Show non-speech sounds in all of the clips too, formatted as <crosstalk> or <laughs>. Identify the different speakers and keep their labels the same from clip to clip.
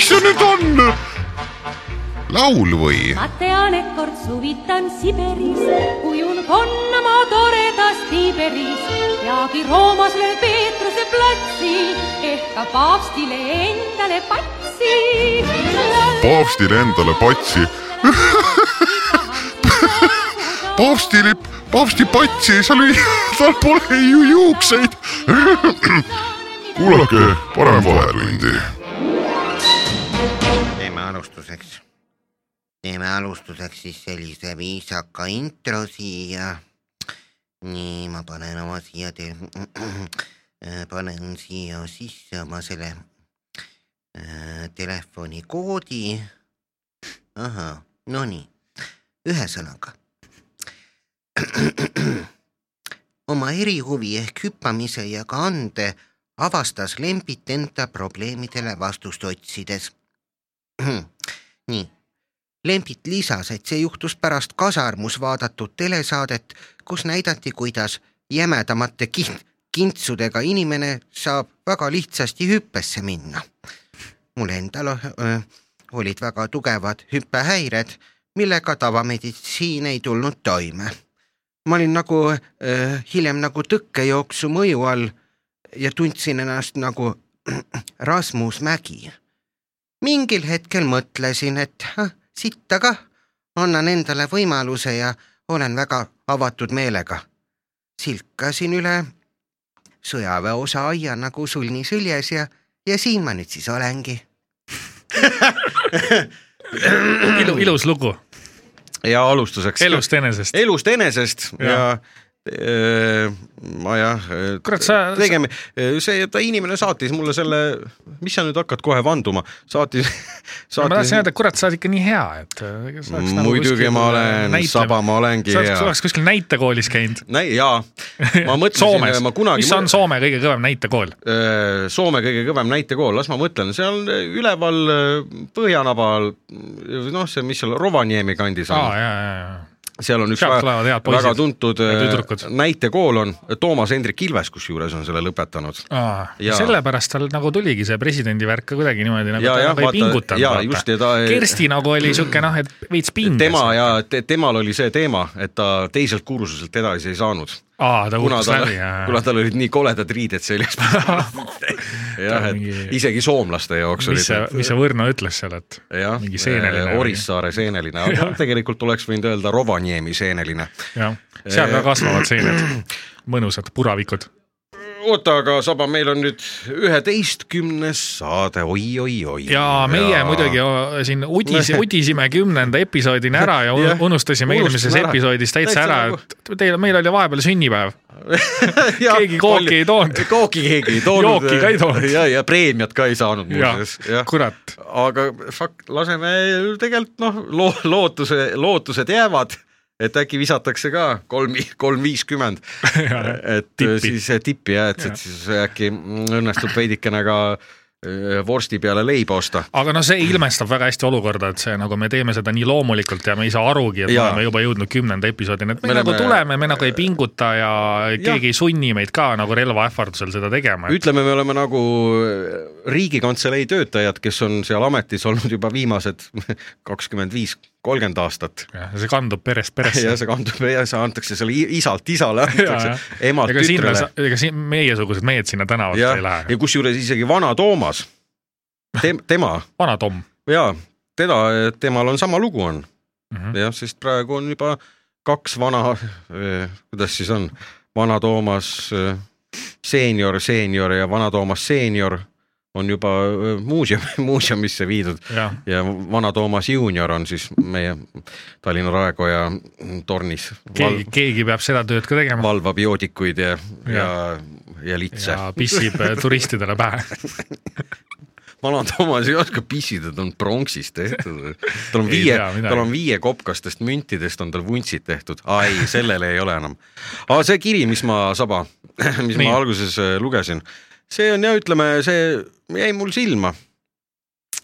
Speaker 1: see nüüd on ? laul või ?
Speaker 2: ma tean , et kord suvitan Siberis , ujun konnamaa toredas Tiberis . peagi Roomas löön Peetruse platsil , ehk ka paavstile endale patsi .
Speaker 1: paavstile endale
Speaker 2: <laughs>
Speaker 1: patsi . paavstilipp , paavsti patsi , <laughs> seal ei , tal pole ju juukseid . kuulake parem vahetundi .
Speaker 3: teeme alustuseks , teeme alustuseks siis sellise viisaka intro siia . nii , ma panen oma siia te- , <clears throat> panen siia sisse oma selle äh, telefonikoodi . ahah , no nii , ühesõnaga . <clears throat> oma erihuvi ehk hüppamise ja kande avastas Lembit enda probleemidele vastust otsides nii , Lembit lisas , et see juhtus pärast kasarmus vaadatud telesaadet , kus näidati , kuidas jämedamate kint- , kintsudega inimene saab väga lihtsasti hüppesse minna . mul endal öö, olid väga tugevad hüppehäired , millega tavameditsiin ei tulnud toime . ma olin nagu öö, hiljem nagu tõkkejooksu mõju all ja tundsin ennast nagu <clears throat> Rasmus Mägi mingil hetkel mõtlesin , et ah, sitta kah , annan endale võimaluse ja olen väga avatud meelega . silkasin üle sõjaväeosa aia nagu sulni süljes ja , ja siin ma nüüd siis olengi .
Speaker 4: ilu , ilus lugu
Speaker 5: ja alustuseks .
Speaker 4: elust enesest .
Speaker 5: elust enesest ja,
Speaker 4: Ja.
Speaker 5: ja öö, ma jah .
Speaker 4: Kurat, sa-
Speaker 5: tegeme , see , ta inimene saatis mulle selle , mis sa nüüd hakkad kohe vanduma , saatis ,
Speaker 4: ma
Speaker 5: saatis
Speaker 4: tahtsin . öelda , kurat , sa oled ikka nii hea , et . äh, nagu
Speaker 5: muidugi ma olen saba , ma olengi
Speaker 4: sa oleks-
Speaker 5: hea
Speaker 4: sa . oleks kuskil näitekoolis käinud .
Speaker 5: näi- , jaa ,
Speaker 4: <laughs>
Speaker 5: ma mõtlesin
Speaker 4: Soomes ,
Speaker 5: ma kunagi .
Speaker 4: mis on Soome kõige kõvem näitekool ?
Speaker 5: Soome kõige kõvem näitekool , las ma mõtlen , seal üleval äh, põhjanabal , noh , see , mis seal Rovaniemi kandis on
Speaker 4: aa , jaa , jaa , jaa .
Speaker 5: seal on üks
Speaker 4: Sealt
Speaker 5: väga,
Speaker 4: tulevad head poisid
Speaker 5: väga tuntud
Speaker 4: ja
Speaker 5: äh,
Speaker 4: tüdrukud.
Speaker 5: näitekool on , Toomas Hendrik Ilves kusjuures on selle lõpetanud .
Speaker 4: Aa,
Speaker 5: Jaa.
Speaker 4: ja sellepärast tal nagu tuligi see presidendi värk ka kuidagi niimoodi nagu
Speaker 5: Jaa,
Speaker 4: ta
Speaker 5: jah,
Speaker 4: nagu
Speaker 5: vaata-
Speaker 4: ei pingutanud .
Speaker 5: jaa, just, ja ta ei-
Speaker 4: Kersti nagu oli siuke noh , et veits pinges .
Speaker 5: tema ja te, temal oli see teema , et ta teiselt kursuselt edasi ei saanud .
Speaker 4: aa , ta
Speaker 5: kuna
Speaker 4: kukkus
Speaker 5: tal
Speaker 4: läbi , ja
Speaker 5: kuna , tal olid nii koledad riided
Speaker 4: <laughs>
Speaker 5: seljas . jah ,
Speaker 4: mingi-
Speaker 5: et isegi soomlaste jaoks
Speaker 4: mis see ,
Speaker 5: olid
Speaker 4: mis see Võrno ütles seal , et
Speaker 5: jah äh,
Speaker 4: mingi seeneline ,
Speaker 5: Orissaare
Speaker 4: <laughs>
Speaker 5: seeneline , aga tegelikult oleks võinud öelda Rovaniemi seeneline .
Speaker 4: jah , seal ka kasvavad
Speaker 5: <clears throat>
Speaker 4: seened , mõnusad puravikud .
Speaker 5: oota , aga Saba , meil on nüüd üheteistkümnes saade oi, , oi-oi-oi .
Speaker 4: ja meie ja. muidugi o- siin udis ,
Speaker 5: <laughs>
Speaker 4: udisime kümnenda episoodini ära ja
Speaker 5: Jah.
Speaker 4: un- unustasime eelmises
Speaker 5: Unustasime ära.
Speaker 4: episoodis täitsa
Speaker 5: Täitsa
Speaker 4: ära , et
Speaker 5: nagu-
Speaker 4: teil , meil oli vahepeal sünnipäev .
Speaker 5: <laughs> Ja,
Speaker 4: Keegi kooki
Speaker 5: palju-
Speaker 4: ei toonud.
Speaker 5: <laughs> kooki keegi ei toonud .
Speaker 4: Jooki ka ei toonud.
Speaker 5: ja , ja preemiat ka ei saanud
Speaker 4: ja
Speaker 5: muuseas , jah .
Speaker 4: kurat ,
Speaker 5: aga fuck , laseme tegelikult noh , loo- , lootuse , lootused jäävad , et äkki visatakse ka kolm , kolm viiskümmend .
Speaker 4: <laughs>
Speaker 5: et äh,
Speaker 4: tippi.
Speaker 5: siis tippi jah , et ,
Speaker 4: Ja.
Speaker 5: et siis äh, äkki õnnestub veidikene ka äh, vorsti peale leiba osta .
Speaker 4: aga noh , see ilmestab väga hästi olukorda , et see nagu me teeme seda nii loomulikult ja me ei saa arugi , et
Speaker 5: Jaa.
Speaker 4: me oleme juba jõudnud kümnenda episoodini , et me,
Speaker 5: Me
Speaker 4: me nagu
Speaker 5: oleme-
Speaker 4: tuleme , me nagu ei pinguta ja keegi ei sunni meid ka nagu relva ähvardusel seda tegema .
Speaker 5: ütleme , me oleme nagu Riigikantselei töötajad , kes on seal ametis olnud juba viimased <laughs> kakskümmend viis , kolmkümmend aastat
Speaker 4: see kandub perest peresse .
Speaker 5: ja see kandub ja see antakse selle i- isalt isale , antakse emalt
Speaker 4: ega sinna
Speaker 5: tütrele .,
Speaker 4: ega siin meiesugused mehed sinna tänavale
Speaker 5: jah
Speaker 4: ei , lähe
Speaker 5: ja . kusjuures isegi vana Toomas , tem- , tema
Speaker 4: vana Tom
Speaker 5: jaa , teda , temal on sama lugu on
Speaker 4: mm . -hmm.
Speaker 5: jah , sest praegu on juba kaks vana , kuidas siis on , vana Toomas eh, seenior , seenior ja vana Toomas seenior on juba eh, muuseum , <laughs> muuseumisse viidud
Speaker 4: jah ,
Speaker 5: ja vana Toomas juunior on siis meie Tallinna Raekoja tornis val,
Speaker 4: keegi , keegi peab seda tööd ka tegema
Speaker 5: valvab joodikuid ja , ja, ja litse .
Speaker 4: ja pissib eh, turistidele pähe .
Speaker 5: <laughs> vana Toomas ei oska pissida , ta on pronksist tehtud . tal on
Speaker 4: Ei
Speaker 5: viie ,
Speaker 4: tea midagi.
Speaker 5: tal on viiekopkastest müntidest on tal vuntsid tehtud , aa ei , sellele ei ole enam . aga see kiri , mis ma saba , mis Nii.
Speaker 4: Nii.
Speaker 5: ma alguses äh, lugesin , see on ja ütleme , see jäi mul silma .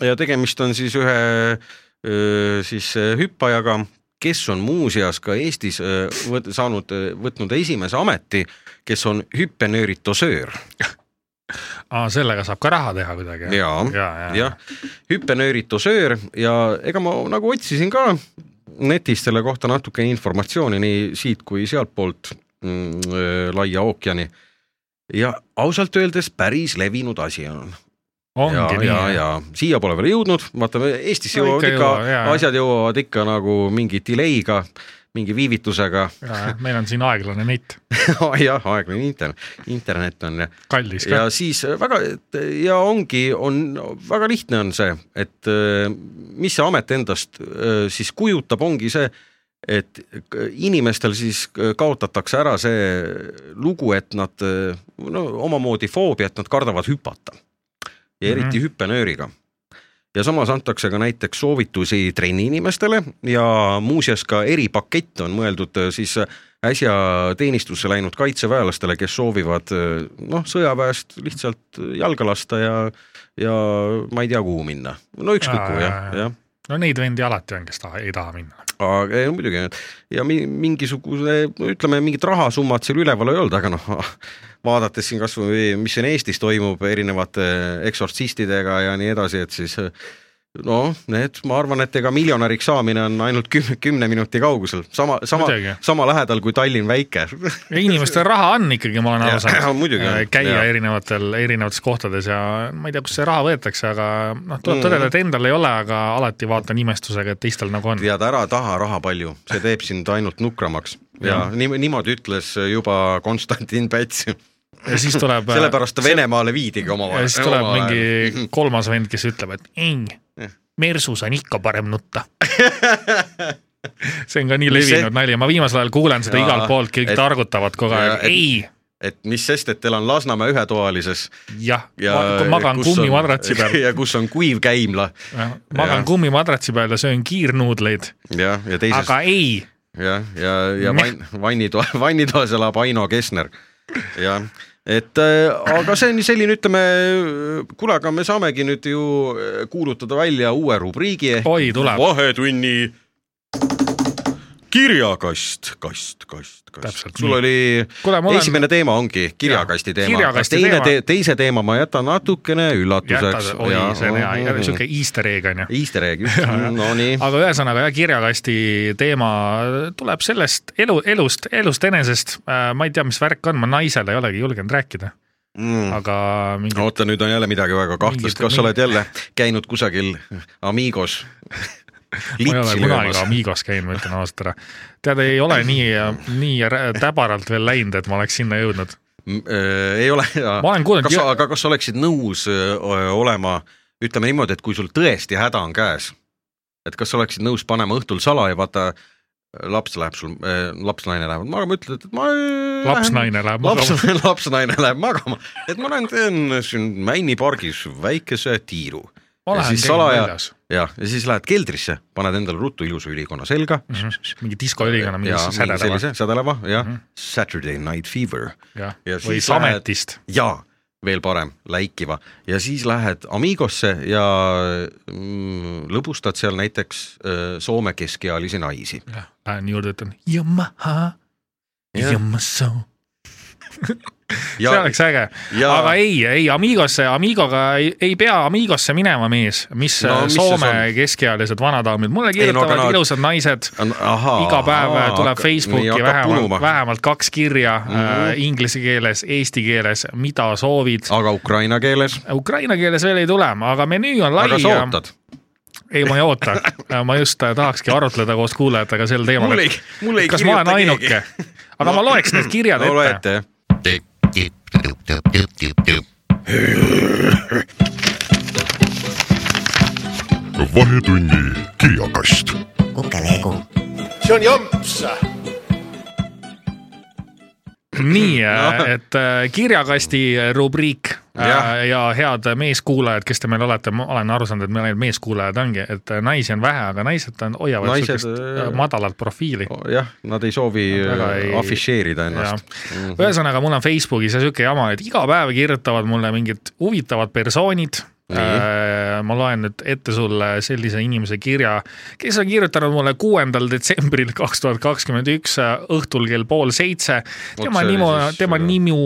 Speaker 5: ja tegemist on siis ühe öö, siis äh, hüppajaga , kes on muuseas ka Eestis öö, võt, äh, saanud , võtnud esimese ameti , kes on hüppenööritöösöör .
Speaker 4: aa , sellega saab ka raha teha kuidagi .
Speaker 5: ja ,
Speaker 4: ja , ja
Speaker 5: jah , hüppenööritusöör ja ega ma nagu otsisin ka netist selle kohta natuke informatsiooni nii siit kui sealtpoolt mm, öö, laia ookeani . ja ausalt öeldes päris levinud asi on . ja ,
Speaker 4: ongi
Speaker 5: ja ,
Speaker 4: nii .
Speaker 5: ja siia pole veel jõudnud , vaatame Eestisse
Speaker 4: No
Speaker 5: jõuavad
Speaker 4: ikka
Speaker 5: ikka
Speaker 4: jõuavad, jaa, , jah.
Speaker 5: asjad jõuavad ikka nagu mingi delay'ga , mingi viivitusega <laughs>
Speaker 4: meil on siin aeglane net ,
Speaker 5: jah , aeglane internet , internet on ja
Speaker 4: kallis ka .
Speaker 5: ja siis äh, väga et- ja ongi , on väga lihtne on see , et äh, mis see amet endast äh, siis kujutab , ongi see , et k- inimestel siis äh, kaotatakse ära see lugu , et nad äh, no omamoodi foobia , et nad kardavad hüpata ja eriti mm
Speaker 4: Mhm.
Speaker 5: -hmm. hüppenööriga ja samas antakse ka näiteks soovitusi trenni inimestele ja muuseas ka eripakett on mõeldud äh, siis äh, äsja teenistusse läinud kaitseväelastele , kes soovivad äh, noh , sõjaväest lihtsalt äh, jalga lasta ja , ja ma ei tea , kuhu minna . no ükskõik kuhu
Speaker 4: Aa,
Speaker 5: jah ,
Speaker 4: jaa,
Speaker 5: jah .
Speaker 4: no neid vendi alati on , kes taha , ei taha minna .
Speaker 5: aga ei, muidugi ja mi- mingisuguse , ütleme mingit rahasummat seal üleval ei olnud , aga noh , <laughs> vaadates siin kasvõi , mis siin Eestis toimub erinevate eksortsistidega ja nii edasi , et siis noh , need , ma arvan , et ega miljonäriks saamine on ainult kümne , kümne minuti kaugusel , sama , sama
Speaker 4: Muidugi. ,
Speaker 5: sama lähedal kui Tallinn väike .
Speaker 4: ja inimestel raha on ikkagi , ma olen
Speaker 5: Jaa,
Speaker 4: aru saanud .
Speaker 5: <laughs> muidugi on,
Speaker 4: käia
Speaker 5: jaa.
Speaker 4: erinevatel , erinevates kohtades ja ma ei tea , kust see raha võetakse , aga noh , tuleb
Speaker 5: Mm.
Speaker 4: tõdeda , et endal ei ole , aga alati vaatan imestusega , et teistel nagu on .
Speaker 5: <laughs> tead ära taha raha palju , see teeb sind ainult nukramaks ja
Speaker 4: Jah.
Speaker 5: nii- niimoodi ütles juba Konstantin Päts ,
Speaker 4: ja siis tuleb ,
Speaker 5: <laughs> sellepärast ta Venemaale viidigi
Speaker 4: ja
Speaker 5: omavahel . Mhm.
Speaker 4: siis tuleb mingi kolmas vend , kes ütleb , et ei , mersus on ikka parem
Speaker 5: <laughs>
Speaker 4: nutta . see on ka nii
Speaker 5: Mis see-
Speaker 4: levinud nali , ma viimasel ajal kuulen seda
Speaker 5: Jaa,
Speaker 4: igalt poolt , kõik
Speaker 5: et-
Speaker 4: targutavad kogu
Speaker 5: jaa,
Speaker 4: aeg ,
Speaker 5: et-
Speaker 4: ei
Speaker 5: et mis sest , et teil on Lasnamäe ühetoalises
Speaker 4: jah
Speaker 5: ja
Speaker 4: ma, magan
Speaker 5: kus on-
Speaker 4: kummimadratsi
Speaker 5: <laughs>
Speaker 4: peal ,
Speaker 5: ja kus on kuiv käimla
Speaker 4: magan
Speaker 5: jah.
Speaker 4: kummimadratsi peal ja söön kiirnuudleid ,
Speaker 5: ja , ja teises
Speaker 4: aga ei ,
Speaker 5: jah , ja , ja vann , vannitoa , <laughs> vannitoas elab Aino Kesner . jah , et äh, aga see on selline , ütleme , kuule , aga me saamegi nüüd ju äh, kuulutada välja uue rubriigi ehk
Speaker 4: Oi, tuleb.
Speaker 5: vahetunni kirjakast , kast , kast , kast
Speaker 4: Täpselt .
Speaker 5: sul
Speaker 4: nii.
Speaker 5: oli
Speaker 4: Kuule, ma olen-
Speaker 5: esimene teema ongi kirjakasti teema ,
Speaker 4: kirjakasti
Speaker 5: teine
Speaker 4: teema.
Speaker 5: te, , teise teema ma jätan natukene üllatuseks
Speaker 4: jätad ,. oi , see on hea , sihuke easter egg on ju .
Speaker 5: Easter egg , just , Mm, nonii .
Speaker 4: aga ühesõnaga jah , kirjakasti teema tuleb sellest elu , elust , elust enesest . ma ei tea , mis värk on , ma naisele ei olegi julgenud rääkida , aga mingi
Speaker 5: Mm. oota , nüüd on jälle midagi väga kahtlast ,
Speaker 4: Mingit-
Speaker 5: kas sa oled
Speaker 4: mingit-
Speaker 5: jälle käinud kusagil Amigos
Speaker 4: ma ei ole
Speaker 5: litsi
Speaker 4: kunagi
Speaker 5: löömas
Speaker 4: ka ? Amigos käinud , ma ütlen ausalt ära . tead , ei ole nii , nii rä- täbaralt veel läinud , et ma oleks sinna jõudnud .
Speaker 5: äh, ei ole .
Speaker 4: ma olen kuulnud
Speaker 5: kas
Speaker 4: jõ-
Speaker 5: sa , aga kas sa oleksid nõus öö, olema , ütleme niimoodi , et kui sul tõesti häda on käes , et kas sa oleksid nõus panema õhtul salaja , vaata laps läheb sul , laps , naine läheb magama , ütled , et ma .
Speaker 4: laps , naine läheb
Speaker 5: laps <laughs>
Speaker 4: magama .,
Speaker 5: laps , naine läheb magama , et ma lähen teen siin Mäinipargis väikese tiiru
Speaker 4: ma
Speaker 5: ja
Speaker 4: lähen
Speaker 5: siis
Speaker 4: käin
Speaker 5: salaja-
Speaker 4: väljas .
Speaker 5: ja , ja siis lähed keldrisse , paned endale ruttu ilusa ülikonna selga .
Speaker 4: mingi diskoülikonna mingi sädeleva ,
Speaker 5: sädeleva , jah
Speaker 4: Mhm.
Speaker 5: mm , -hmm. Saturday Night Fever
Speaker 4: jah
Speaker 5: ja ,
Speaker 4: või
Speaker 5: siis lähed-
Speaker 4: sametist .
Speaker 5: ja veel parem , läikiva ja siis lähed Amigosse ja mm, lõbustad seal näiteks öö, Soome keskealisi naisi .
Speaker 4: Lähen juurde , ütlen Yamaha , Yamaso .
Speaker 5: ja
Speaker 4: see , oleks äge ,
Speaker 5: ja
Speaker 4: aga ei , ei Amigosse , Amigoga ei, ei pea Amigosse minema , mees , mis
Speaker 5: No,
Speaker 4: no,
Speaker 5: mis
Speaker 4: Soome
Speaker 5: siis on?
Speaker 4: keskealised vanadaamid , mulle
Speaker 5: no aga
Speaker 4: kirjutavad no,
Speaker 5: nad-
Speaker 4: ilusad naised
Speaker 5: ahaa,
Speaker 4: iga päev äh,
Speaker 5: ahaa,
Speaker 4: tuleb
Speaker 5: hakka- nii,
Speaker 4: Facebooki
Speaker 5: hakkab
Speaker 4: vähemalt ,
Speaker 5: punuma.
Speaker 4: vähemalt kaks kirja mm -hmm.
Speaker 5: Mhm.
Speaker 4: äh, inglise keeles , eesti keeles , mida soovid .
Speaker 5: aga ukraina keeles ,
Speaker 4: Ukraina keeles veel ei tule , aga menüü on lai
Speaker 5: aga sa
Speaker 4: ja
Speaker 5: ootad ?
Speaker 4: ei , ma ei
Speaker 5: <laughs>
Speaker 4: oota , ma just äh, tahakski arutleda koos kuulajatega sel teemal ,
Speaker 5: Mul ei-
Speaker 4: et
Speaker 5: mul ei
Speaker 4: kas ma olen
Speaker 5: kirjuta
Speaker 4: ainuke , aga ma loeks need kirjad
Speaker 5: no loe
Speaker 4: ette
Speaker 5: ette , jah .
Speaker 1: vahetunni kirjakast .
Speaker 6: kukeleegu ,
Speaker 7: see on jamps .
Speaker 4: <clears throat> nii , et äh, kirjakasti rubriik ja,
Speaker 5: Jah.
Speaker 4: ja head meeskuulajad , kes te meil olete , ma olen aru saanud , et meil ainult meeskuulajad ongi , et äh, naisi on vähe , aga naised on , hoiavad
Speaker 5: Naised,
Speaker 4: niisugust
Speaker 5: äh,
Speaker 4: madalat profiili .
Speaker 5: jah , nad ei soovi
Speaker 4: Nad väga ei-
Speaker 5: ei... afišeerida ennast .
Speaker 4: ühesõnaga , mul on Facebookis ja sihuke jama , et iga päev kirjutavad mulle mingid huvitavad persoonid . ma loen nüüd ette sulle sellise inimese kirja , kes on kirjutanud mulle kuuendal detsembril kaks tuhat kakskümmend üks õhtul kell äh, pool seitse . tema
Speaker 5: see oli
Speaker 4: nimu
Speaker 5: siis, ,
Speaker 4: tema
Speaker 5: äh,
Speaker 4: nimu ,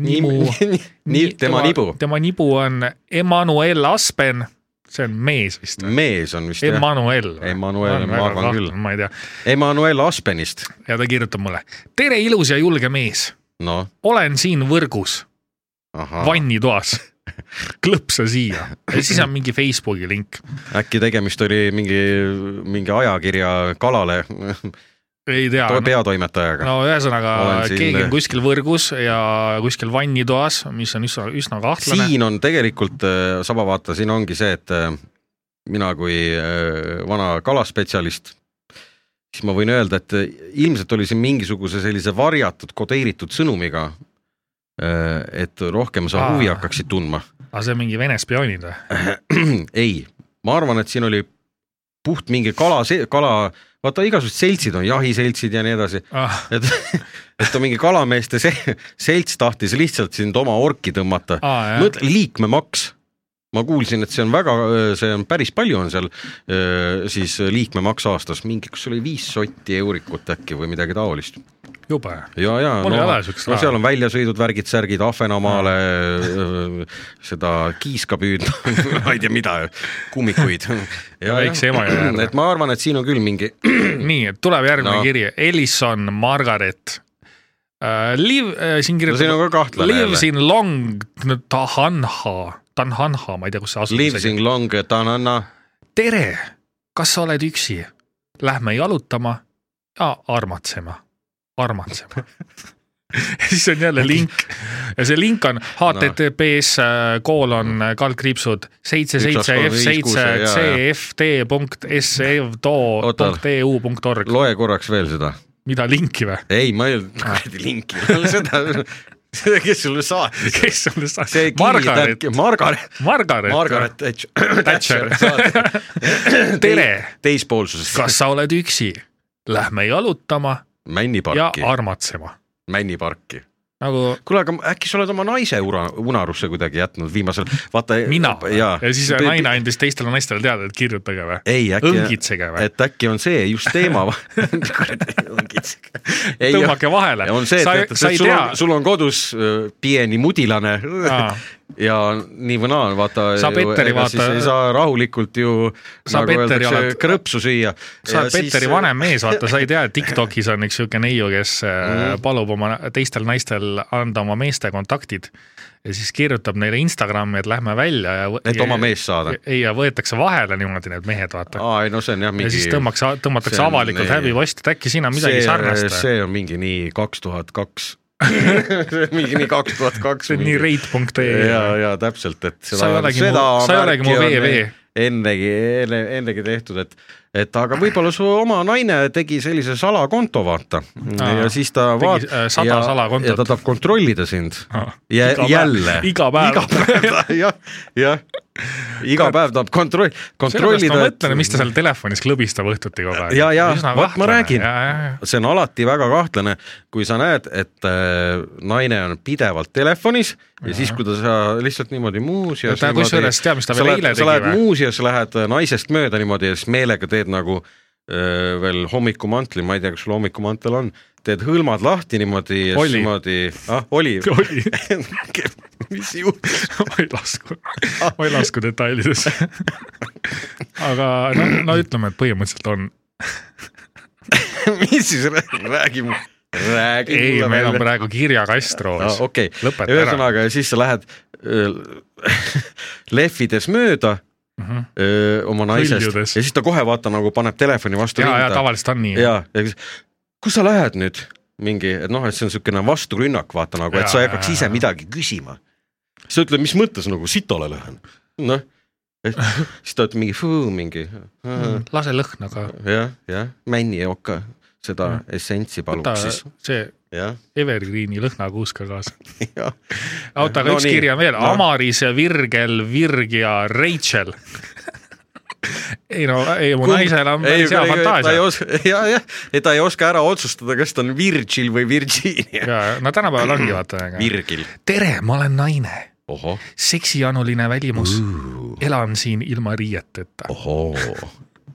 Speaker 4: <laughs> nimu .
Speaker 5: nii , tema nibu ,
Speaker 4: tema nibu on Emmanuel Aspen , see on mees vist .
Speaker 5: mees on vist jah ,
Speaker 4: Emmanuel .
Speaker 5: Emmanuel, ma arvan küll.
Speaker 4: ma ei tea
Speaker 5: Emmanuel Aspenist ,
Speaker 4: ja ta kirjutab mulle . tere , ilus ja julge mees ,
Speaker 5: noh ,
Speaker 4: olen siin võrgus ,
Speaker 5: ahah , <laughs>
Speaker 4: vannitoas . klõpsa siia ja siis on mingi Facebooki link .
Speaker 5: äkki tegemist oli mingi , mingi ajakirja kalale
Speaker 4: ei tea .
Speaker 5: peatoimetajaga , Ah,
Speaker 4: no ühesõnaga
Speaker 5: Olen siin-
Speaker 4: keegi on kuskil võrgus ja kuskil vannitoas , mis on üsna , üsna kahtlane .
Speaker 5: siin on tegelikult äh, sama vaata , siin ongi see , et äh, mina kui äh, vana kalaspetsialist , siis ma võin öelda , et äh, ilmselt oli siin mingisuguse sellise varjatud kodeeritud sõnumiga , et rohkem sa
Speaker 4: Aa.
Speaker 5: huvi hakkaksid tundma . <clears throat>
Speaker 4: aga see on mingi Vene spioonid või ?
Speaker 5: ei , ma arvan , et siin oli puht mingi kala , kala , vaata igasugused seltsid on jahiseltsid ja nii edasi , <laughs>
Speaker 4: ah,
Speaker 5: et et on mingi kalameeste se- selts tahtis lihtsalt sind oma orki tõmmata .
Speaker 4: ah, jah.
Speaker 5: mõtle , liikmemaks . ma kuulsin , et see on väga , see on päris palju on seal öö, siis liikmemaks aastas , mingi , kas oli viis sotti eurikut äkki või midagi taolist .
Speaker 4: jube .
Speaker 5: ja , ja .
Speaker 4: Mul ei
Speaker 5: no,
Speaker 4: ole siukest
Speaker 5: no
Speaker 4: raha.
Speaker 5: seal on väljasõidud , värgid , särgid , Ahvenamaale öö, seda kiiska püüdma , <laughs> ma ei tea mida ,
Speaker 4: <laughs>
Speaker 5: kummikuid .
Speaker 4: väikse Emajõe äärde.
Speaker 5: et ma arvan , et siin on küll mingi ,
Speaker 4: nii , et tuleb järgmine no.
Speaker 5: No.
Speaker 4: kiri , Ellison Margaret uh, . Liv uh, , siin
Speaker 5: no siin on
Speaker 4: kirjutab
Speaker 5: ka kahtlane
Speaker 4: Lives
Speaker 5: jälle .
Speaker 4: in Long Tahanha , Tanhanha , ma ei tea , kus see asub
Speaker 5: Lives . in long tanana ,
Speaker 4: tere , kas sa oled üksi ? Lähme jalutama ja armatsema , armatsema . <laughs> siis on jälle link ja see link on HTTPS äh, koolon äh, kaldkriipsud seitse seitse F seitse CFD punkt sevdo
Speaker 5: Oota.
Speaker 4: punkt EU punkt org .
Speaker 5: loe korraks veel seda
Speaker 4: mida linki või ?
Speaker 5: ei , ma
Speaker 4: Ah.
Speaker 5: ei öelnud kuradi linki , seda , seda , kes sulle saatis .
Speaker 4: kes sulle sa-
Speaker 5: see ,
Speaker 4: Margaret ,
Speaker 5: Margaret ,
Speaker 4: Margaret,
Speaker 5: Margaret Thatcher ,
Speaker 4: Thatcher. tere ,
Speaker 5: teispoolsusest .
Speaker 4: <laughs> kas sa oled üksi ? Lähme jalutama ja
Speaker 5: männiparki ,
Speaker 4: armatsema .
Speaker 5: männiparki .
Speaker 4: nagu
Speaker 5: kuule , aga äkki sa oled oma naise una- , unarusse kuidagi jätnud viimasel , vaata .
Speaker 4: mina ja,
Speaker 5: ja,
Speaker 4: ja siis
Speaker 5: Pe-
Speaker 4: naine andis teistele naistele teada , et kirjutage või ,
Speaker 5: ei , äkki ,
Speaker 4: õngitsege või ,
Speaker 5: et äkki on see just teema .
Speaker 4: <laughs>
Speaker 5: <laughs> ei ,
Speaker 4: tõmmake vahele .
Speaker 5: on see ,
Speaker 4: sa,
Speaker 5: et , et ,
Speaker 4: sa
Speaker 5: et
Speaker 4: ei
Speaker 5: sul
Speaker 4: tea
Speaker 5: on ,, sul on kodus öö, pieni mudilane
Speaker 4: Aa.
Speaker 5: <laughs> ja nii või naa , vaata .
Speaker 4: Saab Etteri vaata-
Speaker 5: ei saa rahulikult ju
Speaker 4: Saab
Speaker 5: nagu
Speaker 4: Etteri
Speaker 5: öeldakse
Speaker 4: alad-
Speaker 5: krõpsu süüa . äh,
Speaker 4: sa oled Petteri vanem mees , vaata , sa ei tea , et Tiktokis on üks sihuke neiu , kes äh,
Speaker 5: Mhm.
Speaker 4: palub oma teistel naistel anda oma meeste kontaktid ja siis kirjutab neile Instagrami , et lähme välja ja .
Speaker 5: et oma mees saada .
Speaker 4: ei , ja võetakse vahele niimoodi need mehed , vaata .
Speaker 5: aa , ei no see on jah
Speaker 4: ja
Speaker 5: mingi .
Speaker 4: siis tõmmakse , tõmmatakse
Speaker 5: see on
Speaker 4: avalikult
Speaker 5: nii-
Speaker 4: häbiposti , et äkki siin on midagi sarnast .
Speaker 5: see on mingi nii kaks tuhat kaks . <laughs> mingi nii kaks tuhat
Speaker 4: <laughs>
Speaker 5: kaks .
Speaker 4: see on nii . E. reit.ee .
Speaker 5: ja , ja täpselt , et
Speaker 4: Sa ei olegi mu- sa ei olegi mu
Speaker 5: värki on
Speaker 4: VV.
Speaker 5: ennegi , enne , ennegi tehtud , et , et aga võib-olla su oma naine tegi sellise salakonto , vaata .
Speaker 4: Aa,
Speaker 5: ja siis ta
Speaker 4: tegi, äh, sada
Speaker 5: ja,
Speaker 4: salakontot.
Speaker 5: ja ta tahab kontrollida sind . Ja,
Speaker 4: Ah. Iga päev-
Speaker 5: jälle .
Speaker 4: iga päev.
Speaker 5: iga päev , jah , jah . iga päev tahab kontroll ,
Speaker 4: sellepärast
Speaker 5: kontrollida .
Speaker 4: ma mõtlen , mis ta seal telefonis klõbistab õhtuti kogu aeg .
Speaker 5: Ja, ja, vot ma räägin.
Speaker 4: <laughs>
Speaker 5: see on alati väga kahtlane , kui sa näed , et äh, naine on pidevalt telefonis ja, ja siis , kui ta sa lihtsalt niimoodi muuseas .
Speaker 4: Ta kusjuures tead, mis ta veel eile
Speaker 5: sa
Speaker 4: tegi
Speaker 5: lähed
Speaker 4: või?
Speaker 5: muuseas , lähed äh, naisest mööda niimoodi ja siis meelega teed nagu äh, veel hommikumantli , ma ei tea , kas sul hommikumantel on , teed hõlmad lahti niimoodi ja siis
Speaker 4: Oli.
Speaker 5: niimoodi , ah oli ,
Speaker 4: oli ,
Speaker 5: <laughs> mis juhtus ,
Speaker 4: ma ei lasku , ma ei lasku detailidesse . aga no, no ütleme , et põhimõtteliselt on ,
Speaker 5: <laughs> mis siis rää- räägi , räägi .
Speaker 4: ei , meil on praegu kirjakast roos
Speaker 5: Ah, . okei
Speaker 4: Lõpeta
Speaker 5: okay. ,
Speaker 4: ära.
Speaker 5: ühesõnaga ja siis sa lähed öö, <laughs> lehvides mööda
Speaker 4: Mhm.
Speaker 5: öö, oma naisest
Speaker 4: Hõljudes.
Speaker 5: ja siis ta kohe vaata nagu paneb telefoni vastu
Speaker 4: ja , ja
Speaker 5: rinda
Speaker 4: tavaliselt on nii .
Speaker 5: ja , ja siis, kus sa lähed nüüd mingi , et noh , et see on niisugune vasturünnak , vaata nagu ,
Speaker 4: Ja,
Speaker 5: et sa
Speaker 4: ja,
Speaker 5: ei hakkaks
Speaker 4: ja,
Speaker 5: ise
Speaker 4: ja.
Speaker 5: midagi küsima . sa ütled , mis mõttes nagu sitale lähen , noh , <laughs> siis ta ütleb mingi , mingi jah ,
Speaker 4: lase lõhna ka ,
Speaker 5: jah , männi okka , seda essentsi palub
Speaker 4: Mm. võta
Speaker 5: siis ,
Speaker 4: see
Speaker 5: jah , <laughs>
Speaker 4: Evergreeni lõhnakuusk ka kaasa .
Speaker 5: jah .
Speaker 4: oota , aga
Speaker 5: No
Speaker 4: üks
Speaker 5: nii.
Speaker 4: kiri on veel
Speaker 5: No.
Speaker 4: no. , Amaris , Virgel , Virg ja
Speaker 5: <laughs>
Speaker 4: Rachel . ei no , ei mu naisel on päris hea
Speaker 5: ta ei
Speaker 4: fantaasia .
Speaker 5: oska , <laughs> ja , jah , et ta ei oska ära otsustada , kas ta on Virgil või Virginia .
Speaker 4: ja , no tänapäeval ongi vaata .
Speaker 5: Virgil .
Speaker 4: tere , ma olen naine
Speaker 5: ohoh , Oh.
Speaker 4: seksijanuline välimus , elan siin ilma riieteta .
Speaker 5: ohoo ,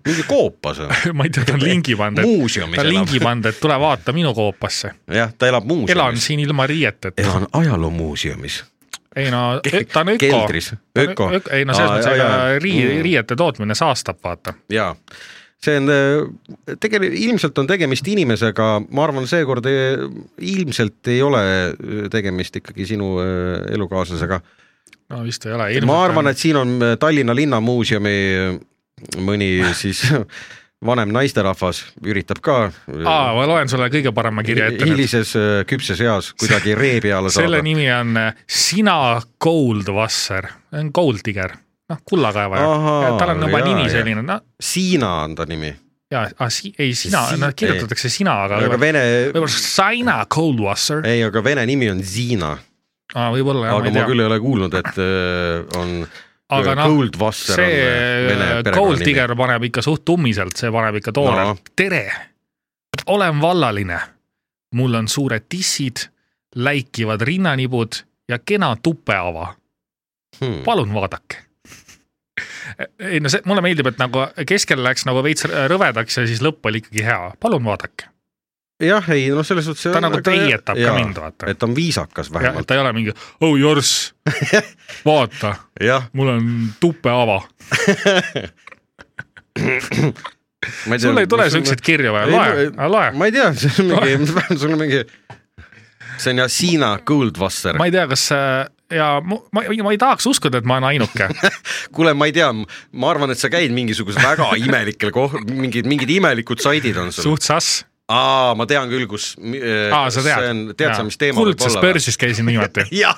Speaker 5: mingi koopas on .
Speaker 4: <laughs> ma ei tea , ta on lingi pannud ,
Speaker 5: muuseumis
Speaker 4: ta on lingi
Speaker 5: elab .
Speaker 4: pannud , et tule vaata minu koopasse .
Speaker 5: jah , ta elab
Speaker 4: elan
Speaker 5: muuseumis .
Speaker 4: siin ilma riieteta .
Speaker 5: elan ajaloomuuseumis .
Speaker 4: ei no , ta on öko .
Speaker 5: keldris , öko .
Speaker 4: ei no selles mõttes , ega rii- , riiete tootmine saastab , vaata .
Speaker 5: jaa , see on äh, tegel- , ilmselt on tegemist inimesega , ma arvan , seekord ei- ilmselt ei ole äh, tegemist ikkagi sinu äh, elukaaslasega .
Speaker 4: no vist ei ole .
Speaker 5: ma arvan , et siin on äh, Tallinna Linnamuuseumi äh, mõni siis <laughs> vanem naisterahvas üritab ka äh,
Speaker 4: aa , ma loen sulle kõige parema kirja ette nüüd .
Speaker 5: hilises äh, küpses eas
Speaker 4: <laughs>
Speaker 5: kuidagi ree peale
Speaker 4: selle
Speaker 5: saada .
Speaker 4: nimi on äh, Sina Goldwasser , on Gold Digger , noh kullakaevaja
Speaker 5: Ahaa, .
Speaker 4: tal on juba
Speaker 5: jaa,
Speaker 4: nimi
Speaker 5: jaa.
Speaker 4: selline , no
Speaker 5: Siina on ta nimi ,
Speaker 4: ja , ei sina
Speaker 5: Si- ,
Speaker 4: noh kirjutatakse sina , aga
Speaker 5: aga
Speaker 4: võib-olla
Speaker 5: vene ,
Speaker 4: võib-olla Sina Goldwasser ,
Speaker 5: ei , aga vene nimi on Ziina ,
Speaker 4: võib-olla jah ,
Speaker 5: aga
Speaker 4: ma ei
Speaker 5: ma
Speaker 4: tea .
Speaker 5: küll ei ole kuulnud , et äh, on
Speaker 4: aga
Speaker 5: Aga
Speaker 4: noh ,
Speaker 5: Goldwasser on äh, vene
Speaker 4: see Gold
Speaker 5: perekonnanimi.
Speaker 4: Digger paneb ikka suht tummiselt , see paneb ikka
Speaker 5: Noh.
Speaker 4: toorelt no. . tere , olen vallaline , mul on suured tissid , läikivad rinnanibud ja kena tupeava
Speaker 5: hmm. .
Speaker 4: palun vaadake . ei no see , mulle meeldib , et nagu keskel läks nagu veits rõvedaks ja siis lõpp oli ikkagi hea , palun vaadake .
Speaker 5: jah , ei noh , selles suhtes .
Speaker 4: ta nagu teietab ka mind , vaata .
Speaker 5: et ta on viisakas vähemalt .
Speaker 4: ta ei ole mingi oh jorss , vaata ,
Speaker 5: jah ,
Speaker 4: mul on tupeava .
Speaker 5: ma ei tea .
Speaker 4: sul ei tule siukseid kirju või ? loe , loe .
Speaker 5: ma ei tea , <laughs> see on mingi , sul on mingi , see on jah , Siina Goldwasser .
Speaker 4: ma ei tea , kas äh, ja mu- ma, ma , ma ei tahaks uskuda , et ma olen ainuke .
Speaker 5: <laughs> kuule , ma ei tea , ma arvan , et sa käid mingisuguse väga imelikel koh- , mingid , mingid imelikud saidid on sul .
Speaker 4: suht sass .
Speaker 5: aa , ma tean küll , kus .
Speaker 4: aa , sa tead ?
Speaker 5: tead sa , mis teema võib
Speaker 4: kuldses
Speaker 5: olla ?
Speaker 4: börsis käisin viimati .
Speaker 5: <laughs> jah ,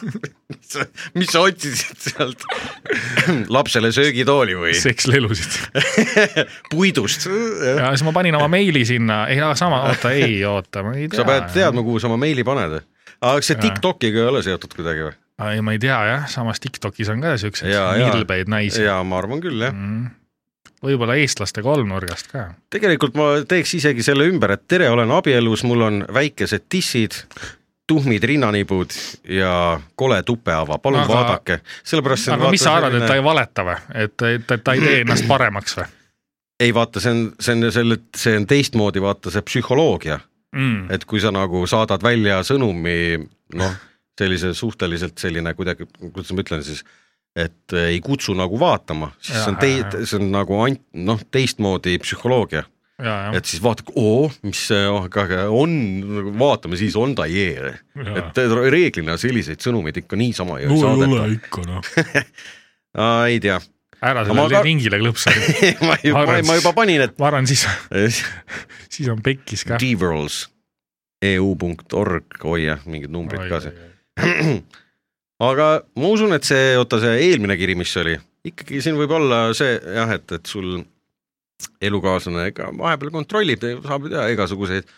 Speaker 5: mis sa otsisid sealt <clears throat> lapsele söögitooli või
Speaker 4: sekslelusid
Speaker 5: <laughs> puidust ?
Speaker 4: ja siis ma panin oma meili sinna , ei no sama , oota , ei oota , ma ei tea .
Speaker 5: sa pead . teadma , kuhu sa oma meili paned . aga kas see
Speaker 4: Jaa.
Speaker 5: Tiktokiga ei ole seotud kuidagi või ?
Speaker 4: ei , ma ei tea jah , samas Tiktokis on ka siukseid
Speaker 5: Jaa, jaa.
Speaker 4: nilbeid naisi .
Speaker 5: jaa , ma arvan küll , jah .
Speaker 4: võib-olla eestlaste kolmnurgast ka .
Speaker 5: tegelikult ma teeks isegi selle ümber , et tere , olen abielus , mul on väikesed tissid , tuhmid rinnanibud ja kole tupeava ,
Speaker 4: Aga-
Speaker 5: palun aga... vaadake . sellepärast see on
Speaker 4: aga mis sa
Speaker 5: vaata
Speaker 4: arvad , et ta
Speaker 5: selline-
Speaker 4: ei valeta või , et , et , et ta ei tee ennast paremaks või
Speaker 5: ei vaata , see on , see on selle , see on teistmoodi , vaata see psühholoogia ,
Speaker 4: mm. ?
Speaker 5: et kui sa nagu saadad välja sõnumi , noh , sellise suhteliselt selline kuidagi , kuidas ma ütlen siis , et ei kutsu nagu vaatama , siis see on
Speaker 4: Jaa,
Speaker 5: tei- , see on nagu ant- , noh , teistmoodi psühholoogia .
Speaker 4: ja , ja ,
Speaker 5: et siis vaatad , oo , mis see oh, aga on , vaatame siis on ta jee .
Speaker 4: Jaa.
Speaker 5: et reeglina selliseid sõnumeid ikka niisama ei no, saadeta .
Speaker 4: ikka noh .
Speaker 5: ei tea , <laughs>
Speaker 4: ära
Speaker 5: Ma
Speaker 4: sellele
Speaker 5: ka-
Speaker 4: ringile klõpsa ,
Speaker 5: ma, ju-
Speaker 4: Ma
Speaker 5: ma,
Speaker 4: arvan,
Speaker 5: ma juba panin ,
Speaker 4: ma arvan , siis ,
Speaker 5: et
Speaker 4: siis on pekkis ka .
Speaker 5: devils E eu.org , oi jah , mingid numbrid ka seal . aga ma usun , et see , oota see eelmine kiri , mis oli , ikkagi siin võib olla see jah , et , et sul elukaaslane ega vahepeal kontrollib , saab ju teha igasuguseid ,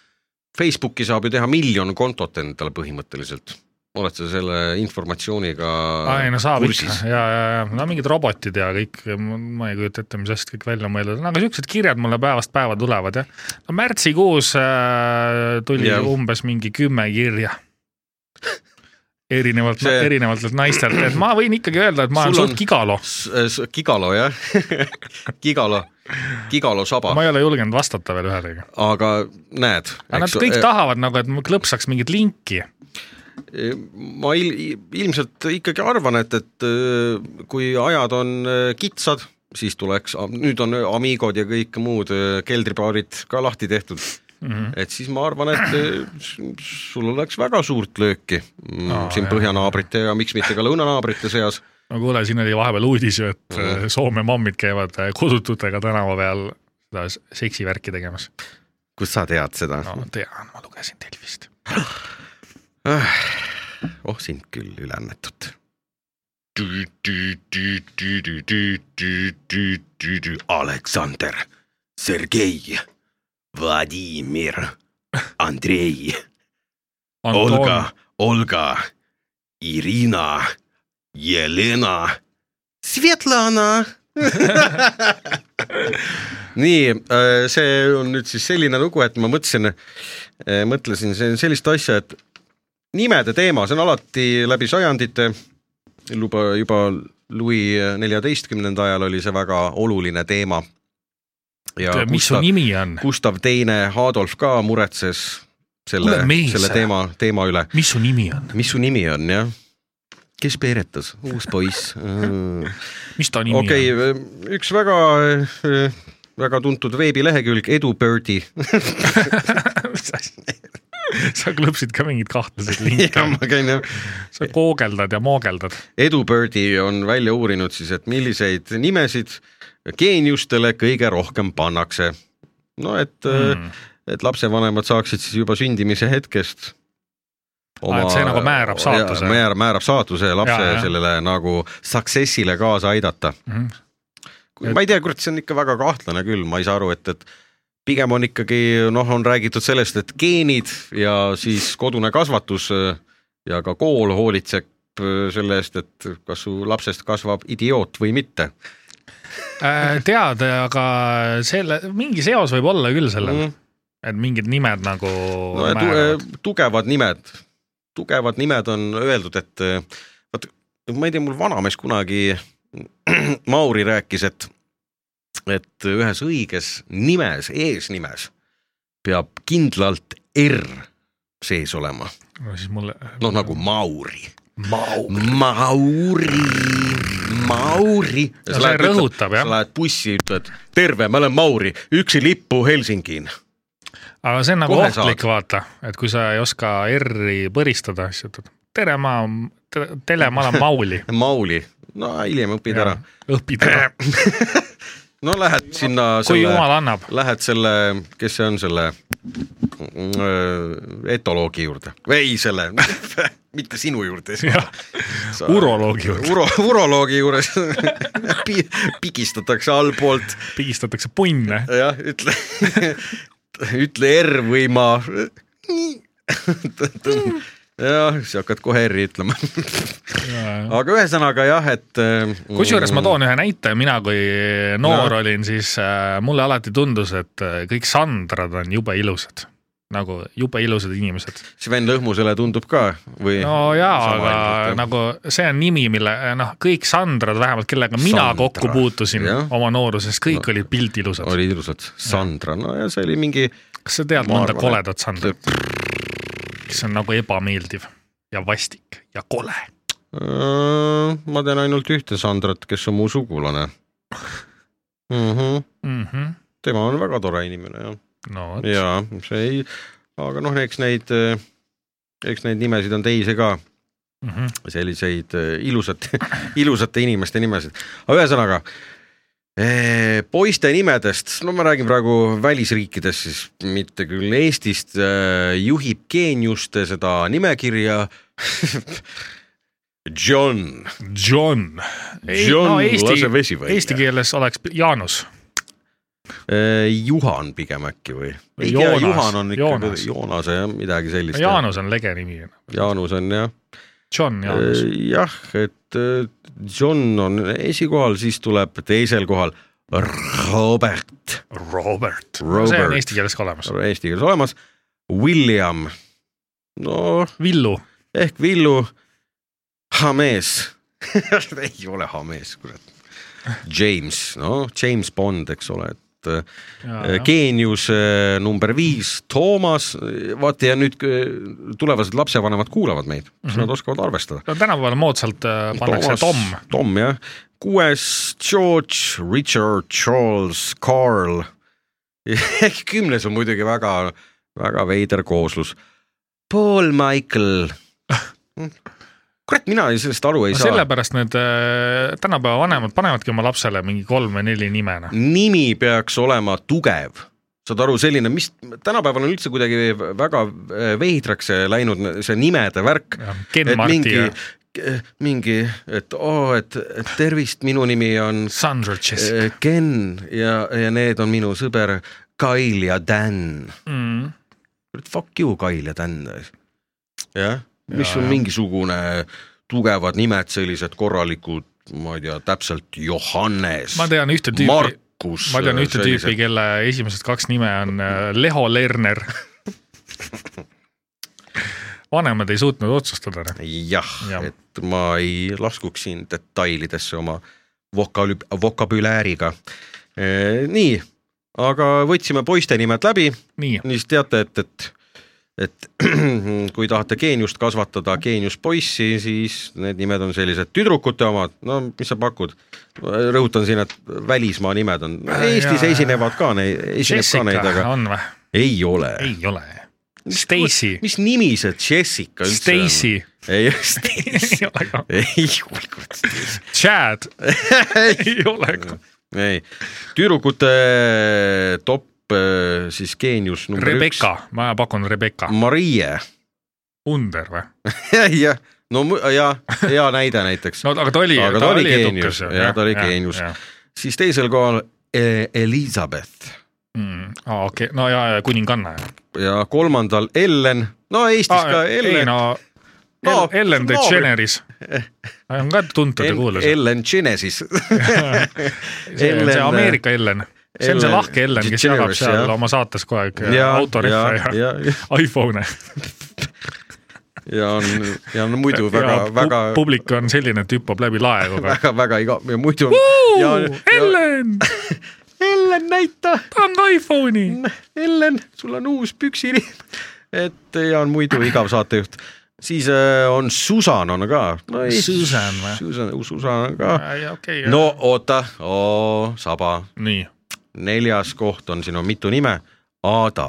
Speaker 5: Facebooki saab ju teha miljon kontot endale põhimõtteliselt . oled sa selle informatsiooniga
Speaker 4: aa ei no saab ikka
Speaker 5: kursis ?
Speaker 4: ja , ja , ja no mingid robotid ja kõik , ma ei kujuta ette , mis asjad kõik välja mõeldud on , aga siuksed kirjad mulle päevast päeva tulevad jah . no märtsikuus äh, tuli ja.
Speaker 5: Jah.
Speaker 4: umbes mingi kümme kirja . erinevalt
Speaker 5: See-
Speaker 4: see... , erinevatelt naistelt , et ma võin ikkagi öelda , et ma olen
Speaker 5: Sul
Speaker 4: suht
Speaker 5: on-
Speaker 4: gigalo ,
Speaker 5: Gigalo jah , <laughs> Gigalo , Gigalo saba
Speaker 4: ma , ei ole julgenud vastata veel ühelegi .
Speaker 5: aga näed . eh,
Speaker 4: aga nad kõik tahavad nagu , et ma klõpsaks mingit linki .
Speaker 5: ma il, ilmselt ikkagi arvan , et , et äh, kui ajad on äh, kitsad , siis tuleks , nüüd on Amigod ja kõik muud äh, keldribaarid ka lahti tehtud mm , -hmm. et siis ma arvan , et äh, s- sul oleks väga suurt lööki no,
Speaker 4: Aa,
Speaker 5: siin
Speaker 4: jah.
Speaker 5: põhjanaabrite ja miks mitte ka lõunanaabrite seas .
Speaker 4: no kuule , siin oli vahepeal uudis ju , et äh, Soome mammid käivad äh, kodututega tänava peal seda s- seksivärki tegemas .
Speaker 5: kust sa tead seda no. ?
Speaker 4: no tean , ma lugesin Delfist .
Speaker 5: oh sind küll ülennetud . Aleksander , Sergei , Vladimir , Andrei , Olga , Olga , Irina , Jelena , Svetlana . <laughs> nii , see on nüüd siis selline lugu , et ma mõtlesin , mõtlesin see- sellist asja , et nimede teema , see on alati läbi sajandite , juba , juba Louis neljateistkümnenda ajal oli see väga oluline teema ja
Speaker 4: mis su
Speaker 5: Gustav,
Speaker 4: nimi on ,
Speaker 5: Gustav Teine , Adolf ka muretses selle
Speaker 4: Kuule, , mees!
Speaker 5: selle teema , teema üle .
Speaker 4: mis su nimi on ,
Speaker 5: mis su nimi on , jah ? kes peeretas , uus poiss ?
Speaker 4: mis ta <laughs> nimi
Speaker 5: okei
Speaker 4: on ? <laughs>
Speaker 5: okay, , üks väga , väga tuntud veebilehekülg Edu Birdi .
Speaker 4: sa klõpsid ka mingeid
Speaker 5: <laughs>
Speaker 4: kahtlaseid linke
Speaker 5: ja , ma käin jah ,
Speaker 4: sa koogeldad ja moogeldad .
Speaker 5: Edu Birdi on välja uurinud siis , et milliseid nimesid geeniustele kõige rohkem pannakse . no et mm. ,
Speaker 4: Mm.
Speaker 5: et lapsevanemad saaksid siis juba sündimise hetkest
Speaker 4: Aa, et see nagu määrab saatuse.
Speaker 5: määrab , määrab saatuse ja lapse
Speaker 4: Jaa,
Speaker 5: ja,
Speaker 4: jah.
Speaker 5: sellele nagu success'ile kaasa aidata .
Speaker 4: Mhm. Et-
Speaker 5: ma ei tea , kurat , see on ikka väga kahtlane küll , ma ei saa aru , et , et pigem on ikkagi noh , on räägitud sellest , et geenid ja siis kodune kasvatus öö, ja ka kool hoolitseb öö, selle eest , et kas su lapsest kasvab idioot või mitte .
Speaker 4: Äh, tead , aga selle , mingi seos võib olla küll sellel
Speaker 5: Mm.
Speaker 4: mm. , et mingid nimed nagu
Speaker 5: no, äh, ja
Speaker 4: määravad.
Speaker 5: tu- eh, tugevad nimed , tugevad nimed on öeldud , et eh, vaat ma ei tea , mul vanamees kunagi , <clears throat> Mauri rääkis , et , et ühes õiges nimes , eesnimes peab kindlalt R sees olema ,
Speaker 4: no siis mulle
Speaker 5: noh nagu Mauri .
Speaker 4: Mau .
Speaker 5: Mauri , Mauri .
Speaker 4: No see rõhutab, jah.
Speaker 5: sa lähed bussi , ütled terve , ma olen Mauri , üksi lippu Helsingin .
Speaker 4: aga see on nagu
Speaker 5: Kohe
Speaker 4: ohtlik , vaata , et kui sa ei oska R-i põristada , siis ütled tere , ma , tere , ma olen Mauli .
Speaker 5: Mauli , no hiljem õpid ära Äh,
Speaker 4: õpid ära ,
Speaker 5: no lähed sinna
Speaker 4: kui
Speaker 5: selle ,
Speaker 4: jumal annab .
Speaker 5: lähed selle , kes see on selle mm, etoloogi juurde või ei selle , <laughs> mitte sinu
Speaker 4: <laughs>
Speaker 5: juurde .
Speaker 4: uroloogi juurde.
Speaker 5: uro, . uroloogi juures <laughs> Pi, pigistatakse allpoolt ,
Speaker 4: pigistatakse
Speaker 5: <laughs>
Speaker 4: punne .
Speaker 5: jah , ütle , ütle R või ma . <laughs> jah , siis hakkad kohe R-i
Speaker 4: <laughs>
Speaker 5: ütlema . aga ühesõnaga jah , et . äh,
Speaker 4: kusjuures ma toon ühe näite , mina kui noor no. olin , siis äh, mulle alati tundus , et äh, kõik Sandrad on jube ilusad , nagu jube ilusad inimesed .
Speaker 5: Sven Lõhmusele tundub ka või ?
Speaker 4: no jaa , aga . nagu see on nimi , mille noh , kõik Sandrad vähemalt , kellega mina
Speaker 5: Sandra.
Speaker 4: kokku puutusin
Speaker 5: Jah.
Speaker 4: oma nooruses , kõik
Speaker 5: No.
Speaker 4: no. olid pildilusad .
Speaker 5: olid ilusad , Sandra , no ja see oli mingi , "Äh,
Speaker 4: kas sa tead
Speaker 5: Ma
Speaker 4: mõnda
Speaker 5: arvan,
Speaker 4: koledat Sandrat , kes on nagu ebameeldiv ja vastik ja kole ?
Speaker 5: ma tean ainult ühte Sandrat , kes on mu sugulane mm . -hmm.
Speaker 4: Mm -hmm.
Speaker 5: tema on väga tore inimene ja ,
Speaker 4: no vot ,
Speaker 5: ja see ei , aga noh , eks neid , eks neid nimesid on teisi ka ,
Speaker 4: mm -hmm.
Speaker 5: selliseid eh, ilusate , <laughs> ilusate inimeste nimesid , aga ühesõnaga eh, poiste nimedest , no ma räägin praegu välisriikidest siis , mitte küll Eestist , juhib geeniuste seda nimekirja <laughs> John ,
Speaker 4: John .
Speaker 5: John no, lase vesi või ?
Speaker 4: eesti keeles oleks Jaanus .
Speaker 5: äh, Juhan pigem äkki või ? ei tea ,
Speaker 4: Joonas.
Speaker 5: Juhan on ikka
Speaker 4: Joonas.
Speaker 5: Joonase jah , midagi sellist .
Speaker 4: Jaanus on lege nimi ,
Speaker 5: Jaanus on jah .
Speaker 4: John Jaanus .
Speaker 5: jah , et äh, John on esikohal , siis tuleb teisel kohal Robert ,
Speaker 4: Robert, Robert. . see on
Speaker 5: Robert ,
Speaker 4: eesti keeles ka olemas .
Speaker 5: eesti keeles olemas , William , no
Speaker 4: Villu ,
Speaker 5: ehk Villu , Hamees , <laughs> ei ole Hamees , kurat , James , no James Bond , eks ole , et äh, geenius äh, number viis , Toomas , vaata ja nüüd äh, tulevased lapsevanemad kuulavad meid mm , -hmm.
Speaker 4: Mhm.
Speaker 5: nad oskavad arvestada .
Speaker 4: no tänapäeval moodsalt äh, pannakse Tom ,
Speaker 5: Tom jah , kuues George , Richard , Charles , Carl . <laughs> ehk kümnes on muidugi väga , väga veider kooslus . Paul
Speaker 4: <laughs>
Speaker 5: Michael . kurat , mina ei- sellest aru ei
Speaker 4: no
Speaker 5: saa selle... .
Speaker 4: sellepärast need äh, tänapäeva vanemad panevadki oma lapsele mingi kolm või neli nime , noh .
Speaker 5: nimi peaks olema tugev , saad aru , selline , mis tänapäeval on üldse kuidagi väga äh, veidraks läinud see nimede värk .
Speaker 4: Ken
Speaker 5: et
Speaker 4: Marti
Speaker 5: mingi
Speaker 4: ja ,
Speaker 5: mingi , et oo oh, , et et tervist , minu nimi on
Speaker 4: Sandra Jessica
Speaker 5: Eh, Ken ja , ja need on minu sõber Kail ja Dan .
Speaker 4: mm. .
Speaker 5: Fuck you , Kail ja Dan . jah , mis
Speaker 4: Jaa, jah.
Speaker 5: on mingisugune tugevad nimed , sellised korralikud , ma ei tea , täpselt Johannes ,
Speaker 4: ma tean ühte tüüpi ,
Speaker 5: Markus .
Speaker 4: ma tean ühte tüüpi ,. kelle esimesed kaks nime on äh, Leho
Speaker 5: <laughs>
Speaker 4: Lerner . vanemad ei suutnud otsustada , noh .
Speaker 5: jah ja.
Speaker 4: Jah. ,
Speaker 5: et ma ei laskuks siin detailidesse oma vokaalü- , vokabülääriga . Äh, nii , aga võtsime poiste nimed läbi ,
Speaker 4: nii ,
Speaker 5: siis teate , et , et <clears throat> et kui tahate geeniust kasvatada , geeniuspoissi , siis need nimed on sellised , tüdrukute omad , no mis sa pakud , rõhutan siin , et välismaa nimed on , Eestis
Speaker 4: Äh, jaa.
Speaker 5: esinevad ka neid , esineb
Speaker 4: Jessica
Speaker 5: ka neid , aga
Speaker 4: on või ?
Speaker 5: ei ole .
Speaker 4: ei ole . Stacy ,
Speaker 5: mis nimi see Jessica üldse on ?
Speaker 4: Stacy ,
Speaker 5: ei , <laughs> Stacy
Speaker 4: ei . ole ka ,
Speaker 5: ei , kurat ,
Speaker 4: Chad <laughs> ei ole ka ,
Speaker 5: ei , tüdrukute top eh, siis geenius number
Speaker 4: Rebecca , ma pakun Rebecca
Speaker 5: üks ,, Marie ,
Speaker 4: Under või ?
Speaker 5: jah , no mu- ja hea näide näiteks no. ,
Speaker 4: no aga ta oli ,
Speaker 5: Aga
Speaker 4: ta,
Speaker 5: ta oli
Speaker 4: oli edukas
Speaker 5: geenius.
Speaker 4: ju .
Speaker 5: Jah, ta oli geenius. siis teisel kohal eh, Elizabeth
Speaker 4: aa , Mm. Ah, okei , no ja , ja kuninganna ju .
Speaker 5: ja kolmandal Ellen , no Eestis ah, ka
Speaker 4: ei
Speaker 5: Ellen ,
Speaker 4: no
Speaker 5: No, ,
Speaker 4: Ellen
Speaker 5: no,
Speaker 4: DeGeneres on ka tuntud ja kuulus .
Speaker 5: Ellen
Speaker 4: <laughs>
Speaker 5: Genesis
Speaker 4: see on see
Speaker 5: Ellen-
Speaker 4: Ameerika Ellen , see on see
Speaker 5: Ellen
Speaker 4: lahke Ellen , kes jagab
Speaker 5: DeGeneres,
Speaker 4: seal
Speaker 5: jah.
Speaker 4: oma saates kogu aeg autorihve ja,
Speaker 5: ja, ja,
Speaker 4: ja iPhone'e .
Speaker 5: ja on , ja on muidu väga , väga ,
Speaker 4: publik on selline , et hüppab läbi lae kogu aeg .
Speaker 5: väga , väga igav ja muidu on ja, ja,
Speaker 4: Ellen ,
Speaker 5: Ellen näita
Speaker 4: ta on iPhone'i .
Speaker 5: <laughs> Ellen , sul on uus püksirihm . et ja on muidu igav saatejuht . siis äh, on Susan on ka no, .
Speaker 4: Susan või?
Speaker 5: Susan , Susan on ka .
Speaker 4: okei ,
Speaker 5: no oota , oo , saba ,
Speaker 4: nii .
Speaker 5: neljas koht on , siin on mitu nime . Aada ,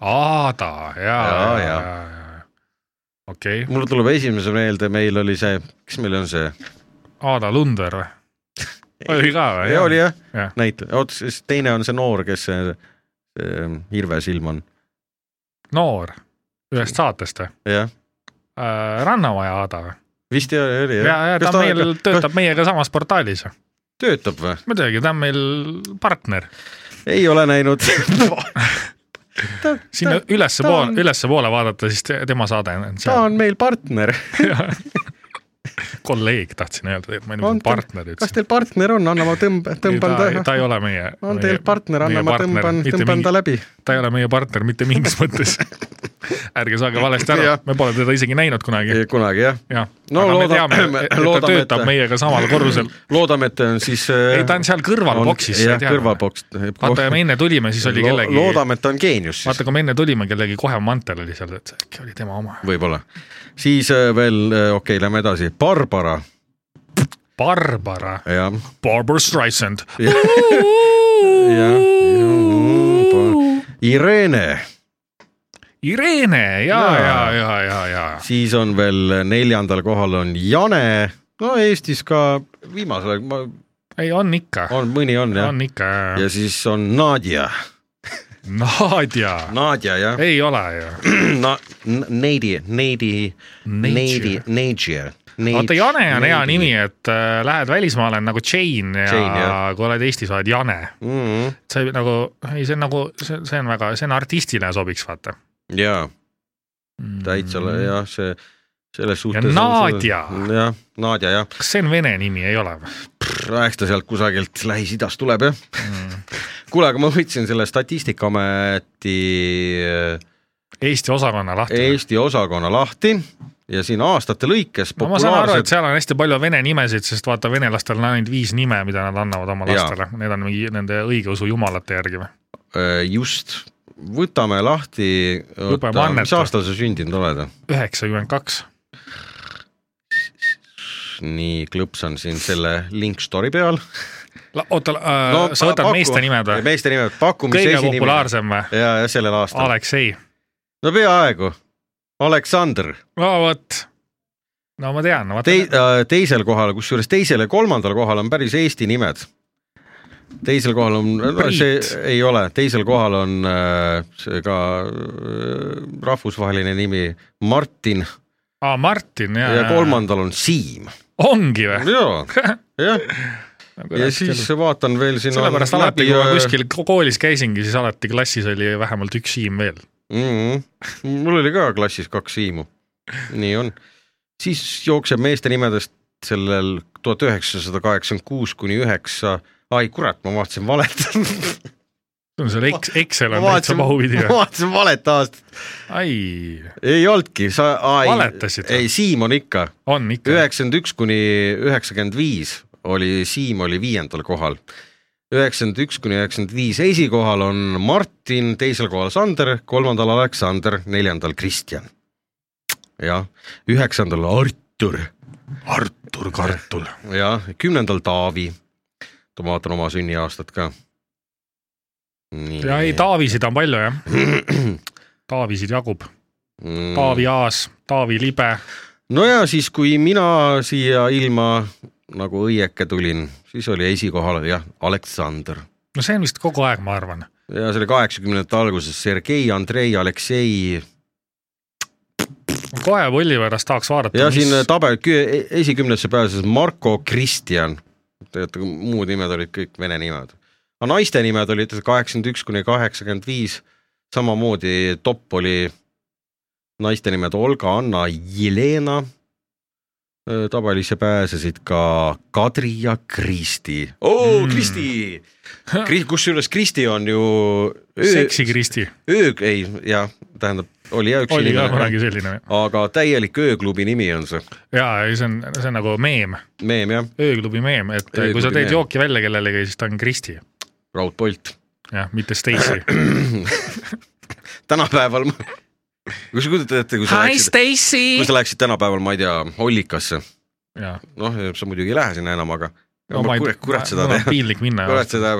Speaker 4: Aada , ja ,
Speaker 5: Jaa,
Speaker 4: ja ,
Speaker 5: jaa.
Speaker 4: ja , ja , okei okay. ,
Speaker 5: mulle tuleb esimese meelde , meil oli see , kes meil on see ,
Speaker 4: Aada Lunder või ? oli ka või ?
Speaker 5: oli jah
Speaker 4: Jah. ,
Speaker 5: näitaja , oot siis teine on see noor , kes see, see hirvesilm on ,
Speaker 4: noor , ühest saatest või ?
Speaker 5: jah ,
Speaker 4: Rannamaja Aada või ?
Speaker 5: vist ja, oli jah .
Speaker 4: ja , ja ta meil töötab meiega samas portaalis .
Speaker 5: töötab või ?
Speaker 4: muidugi , ta on meil partner .
Speaker 5: ei ole näinud
Speaker 4: sinna
Speaker 5: Ta- ta
Speaker 4: ülespoole
Speaker 5: on- ,
Speaker 4: ülespoole vaadata , siis te- tema saade on
Speaker 5: ta
Speaker 4: seal .
Speaker 5: on meil partner .
Speaker 4: kolleeg tahtsin öelda , et ma
Speaker 5: On
Speaker 4: olin
Speaker 5: ta-
Speaker 4: partner
Speaker 5: kas
Speaker 4: ütlesin .
Speaker 5: teil partner on , anna ma tõmb- , tõmban
Speaker 4: ta, ta
Speaker 5: ta .
Speaker 4: ei ole meie .
Speaker 5: on teil partner , anna ma tõmban , tõmban ta läbi .
Speaker 4: ta ei ole meie partner mitte
Speaker 5: <laughs>
Speaker 4: mingis mõttes . ärge saage valesti aru
Speaker 5: Jah. ,
Speaker 4: me pole teda isegi näinud kunagi .
Speaker 5: kunagi jah .
Speaker 4: jah ,
Speaker 5: No
Speaker 4: aga me
Speaker 5: looda- <clears throat>
Speaker 4: teame , et et ta
Speaker 5: loodame, et
Speaker 4: töötab
Speaker 5: ta-
Speaker 4: meiega samal korrusel .
Speaker 5: loodame , et on siis . äh,
Speaker 4: ei , ta on seal kõrval boksis .
Speaker 5: jah , kõrvaboks .
Speaker 4: vaata , ja me enne tulime , siis oli kellegi .
Speaker 5: loodame , et ta on geenius siis
Speaker 4: vaata , kui me enne tulime , kellegi kohe mantel oli seal , et see äkki oli tema oma .
Speaker 5: võib-olla . siis äh, veel , okei okay, , lähme edasi , Barbara ,
Speaker 4: Barbara ,
Speaker 5: jah .
Speaker 4: Barbara Streisand .
Speaker 5: Irene ,
Speaker 4: Irene ja ,
Speaker 5: Jaa.
Speaker 4: ja , ja , ja , ja .
Speaker 5: siis on veel neljandal kohal on Jane , no Eestis ka viimasel ajal , ma ,
Speaker 4: ei , on ikka ,
Speaker 5: on mõni on jah .
Speaker 4: on ikka .
Speaker 5: ja siis on Nadja ,
Speaker 4: Nadja ,
Speaker 5: Nadja jah . <clears throat>
Speaker 4: ei ole ju .
Speaker 5: no n- neidi , neidi , neidi , neidžia .
Speaker 4: vaata , Jane on hea nimi , et äh, lähed välismaale on nagu Jane ja
Speaker 5: Jane, jah.
Speaker 4: kui oled Eestis , oled Jane .
Speaker 5: mm . -hmm.
Speaker 4: sa ei- nagu , ei , see on nagu , see see on väga , see on artistile sobiks , vaata .
Speaker 5: jaa , täitsa
Speaker 4: Mm-hmm.
Speaker 5: ole- jah , see selles suhtes .
Speaker 4: Nadja.
Speaker 5: jah , Nadja jah ,
Speaker 4: kas see on vene nimi , ei ole või ?
Speaker 5: eks ta sealt kusagilt Lähis-Idast tuleb jah . Mm. kuule , aga ma võtsin selle Statistikaameti äh,
Speaker 4: <laughs> Eesti osakonna lahti .
Speaker 5: Eesti osakonna lahti ja siin aastate lõikes
Speaker 4: no ma saan aru , et
Speaker 5: populaarsed ,
Speaker 4: seal on hästi palju vene nimesid , sest vaata , venelastel on ainult viis nime , mida nad annavad oma
Speaker 5: Jaa.
Speaker 4: lastele , need on mingi nende õigeusu jumalate järgi või ?
Speaker 5: Äh, just , võtame lahti ,
Speaker 4: Lube
Speaker 5: oota ,
Speaker 4: Mannet.
Speaker 5: mis aastal sa sündinud oled ?
Speaker 4: üheksakümmend kaks .
Speaker 5: nii klõps on siin selle link story peal .
Speaker 4: oota , Äh, sa võtad meeste nimed või ?
Speaker 5: meeste nimed , pakume
Speaker 4: kõige . populaarsem või ?
Speaker 5: ja , ja sellel aastal .
Speaker 4: Aleksei ,
Speaker 5: no peaaegu . Aleksander
Speaker 4: no vot . no ma tean , vaata
Speaker 5: Tei, , teisel kohal , kusjuures teisel ja kolmandal kohal on päris Eesti nimed . teisel kohal on , no,
Speaker 4: Priit.
Speaker 5: see ei ole , teisel kohal on äh, see ka äh, rahvusvaheline nimi Martin
Speaker 4: aa Martin ja,
Speaker 5: ja, ja kolmandal on Siim .
Speaker 4: ongi või ?
Speaker 5: jaa ,
Speaker 4: <laughs>
Speaker 5: jah , ja siis vaatan veel siin . äh,
Speaker 4: sellepärast alati , kui ma kuskil ko- koolis käisingi , siis alati klassis oli vähemalt üks Siim veel .
Speaker 5: mm . -hmm. mul oli ka klassis kaks Siimu , nii on . siis jookseb meeste nimedest sellel tuhat üheksasada kaheksakümmend kuus kuni üheksa , ai kurat , ma vaatasin valet .
Speaker 4: sul eks- , Excel on täitsa pahupidi
Speaker 5: <laughs> ma
Speaker 4: või ?
Speaker 5: vaatasin valet aastat ,
Speaker 4: ai ,
Speaker 5: <laughs> ei olnudki , sa , ai .
Speaker 4: Valetasid või?
Speaker 5: ei , Siim on ikka ,
Speaker 4: on ikka .
Speaker 5: üheksakümmend üks kuni üheksakümmend viis oli , Siim oli viiendal kohal üheksakümmend üks kuni üheksakümmend viis esikohal on Martin , teisel kohal Sander , kolmandal Aleksander , neljandal Kristjan . jah , üheksandal Artur
Speaker 1: Artur Kartul .
Speaker 5: ja kümnendal Taavi . ma vaatan oma sünniaastat ka . nii
Speaker 4: ja
Speaker 5: <clears throat>
Speaker 4: ei , Taavisid on palju jah , Taavisid jagub ,
Speaker 5: Mm. Taavi .
Speaker 4: Taavi Aas , Taavi Libe ,
Speaker 5: no ja siis , kui mina siia ilma nagu õieke tulin , siis oli esikohal jah , Aleksander
Speaker 4: no see on vist kogu aeg , ma arvan .
Speaker 5: ja selle kaheksakümnendate alguses Sergei , Andrei , Aleksei
Speaker 4: kohe Volli pärast tahaks vaadata .
Speaker 5: ja siin äh, eh, tabel kü- e-, esikümnesse pääses Marko Kristjan . teate , muud nimed olid kõik vene nimed . aga naiste nimed olid kaheksakümmend üks kuni kaheksakümmend viis , samamoodi top oli naiste nimed Olga , Anna , Jelena . tabelisse pääsesid ka Kadri ja Kristi oh, .
Speaker 4: Hmm.
Speaker 5: oo ,
Speaker 4: <laughs>
Speaker 5: Kristi Kri, ! kusjuures Kristi on ju öö ,
Speaker 4: seksi Kristi ,
Speaker 5: öö , ei , jah , tähendab , oli jah üks
Speaker 4: oli ka kunagi
Speaker 5: inimene ,
Speaker 4: selline
Speaker 5: aga täielik ööklubi nimi on see
Speaker 4: ja ei, see on , see on nagu meem ,
Speaker 5: meem jah ,
Speaker 4: ööklubi meem , et ööklubi kui
Speaker 5: Ööklubi
Speaker 4: sa teed
Speaker 5: meem.
Speaker 4: jooki välja kellelegi , siis ta on Kristi ,
Speaker 5: raudpolt .
Speaker 4: jah , mitte Stacy .
Speaker 5: tänapäeval ma... , kui sa kujutad ette , kui sa läksid , kui
Speaker 4: Stacy .
Speaker 5: sa läksid tänapäeval , ma ei tea , Ollikasse ,
Speaker 4: ja ,
Speaker 5: noh , sa muidugi ei lähe sinna enam , aga
Speaker 4: no ma ei
Speaker 5: kurat- , kurat seda
Speaker 4: mul on
Speaker 5: teha ,
Speaker 4: piinlik minna .
Speaker 5: kurat seda ,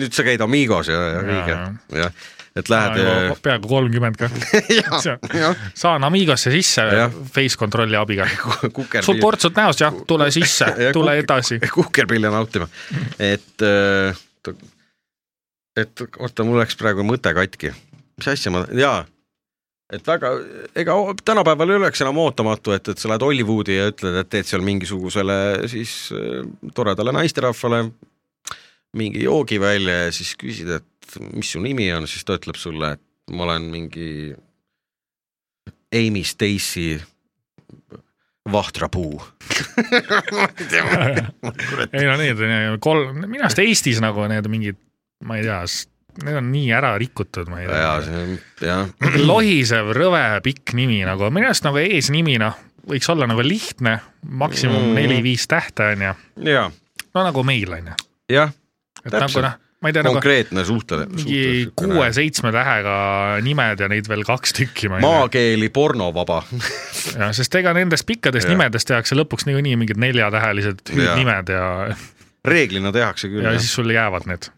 Speaker 5: nüüd sa käid Amigos ja , ja kõige , jah , et <laughs> lähed , äh,
Speaker 4: peaaegu kolmkümmend ka . saan Amigasse sisse
Speaker 5: Jah.
Speaker 4: face kontrolli abiga . sul
Speaker 5: kukerpilli ,
Speaker 4: portsud näost , jah , tule
Speaker 5: <laughs>
Speaker 4: sisse
Speaker 5: Ja ,
Speaker 4: tule
Speaker 5: kuk-
Speaker 4: edasi .
Speaker 5: <laughs> kukerpille nautima , et , et oota , mul läks praegu mõte katki , mis asja ma , jaa et väga , ega o- tänapäeval ei oleks enam ootamatu , et , et sa lähed Hollywoodi ja ütled , et teed seal mingisugusele siis äh, toredale naisterahvale mingi joogi välja ja siis küsid , et mis su nimi on , siis ta ütleb sulle , et ma olen mingi Amy Stacy vahtrapuu
Speaker 4: ei no need on ju kolm , minu arust Eestis nagu need mingid , ma ei tea , need on nii ära rikutud , ma ei
Speaker 5: ja
Speaker 4: tea .
Speaker 5: see on jah ,
Speaker 4: <clears throat> lohisev , rõve , pikk nimi nagu , minu arust nagu eesnimina võiks olla nagu lihtne , maksimum
Speaker 5: Mm.
Speaker 4: neli-viis tähte on ju ,
Speaker 5: ja
Speaker 4: no nagu meil on ju ,
Speaker 5: jah ,
Speaker 4: et
Speaker 5: Täpselt.
Speaker 4: nagu noh , ma ei tea nagu
Speaker 5: konkreetne suhtele .
Speaker 4: mingi kuue-seitsme tähega nimed ja neid veel kaks tükki ma ei tea .
Speaker 5: maakeeli pornovaba
Speaker 4: jah , sest ega nendest pikkadest
Speaker 5: Jah.
Speaker 4: nimedest tehakse lõpuks niikuinii mingid neljatähelised hüüdnimed ja,
Speaker 5: reeglina tehakse
Speaker 4: ja ,
Speaker 5: küll
Speaker 4: ja . siis sul jäävad need .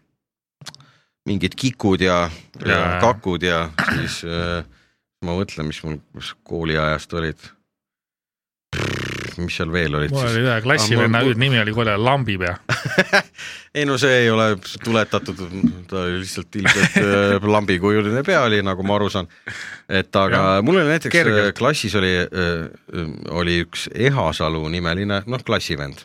Speaker 5: mingid kikud ja, ja,
Speaker 4: Jaa.
Speaker 5: ja kakud ja siis äh, ma mõtlen , mis mul mis kooliajast olid . mis seal veel olid
Speaker 4: mul
Speaker 5: siis
Speaker 4: oli ? ühe klassivenna
Speaker 5: mul-
Speaker 4: hüüdnimi oli kohe lambipea .
Speaker 5: ei no see ei ole tuletatud , ta oli lihtsalt ilmselt äh, lambikujuline pea oli , nagu ma aru saan . et aga
Speaker 4: Jah.
Speaker 5: mul oli näiteks
Speaker 4: Kergelt.
Speaker 5: Kergelt. klassis oli , oli üks Ehasalu nimeline , noh , klassivend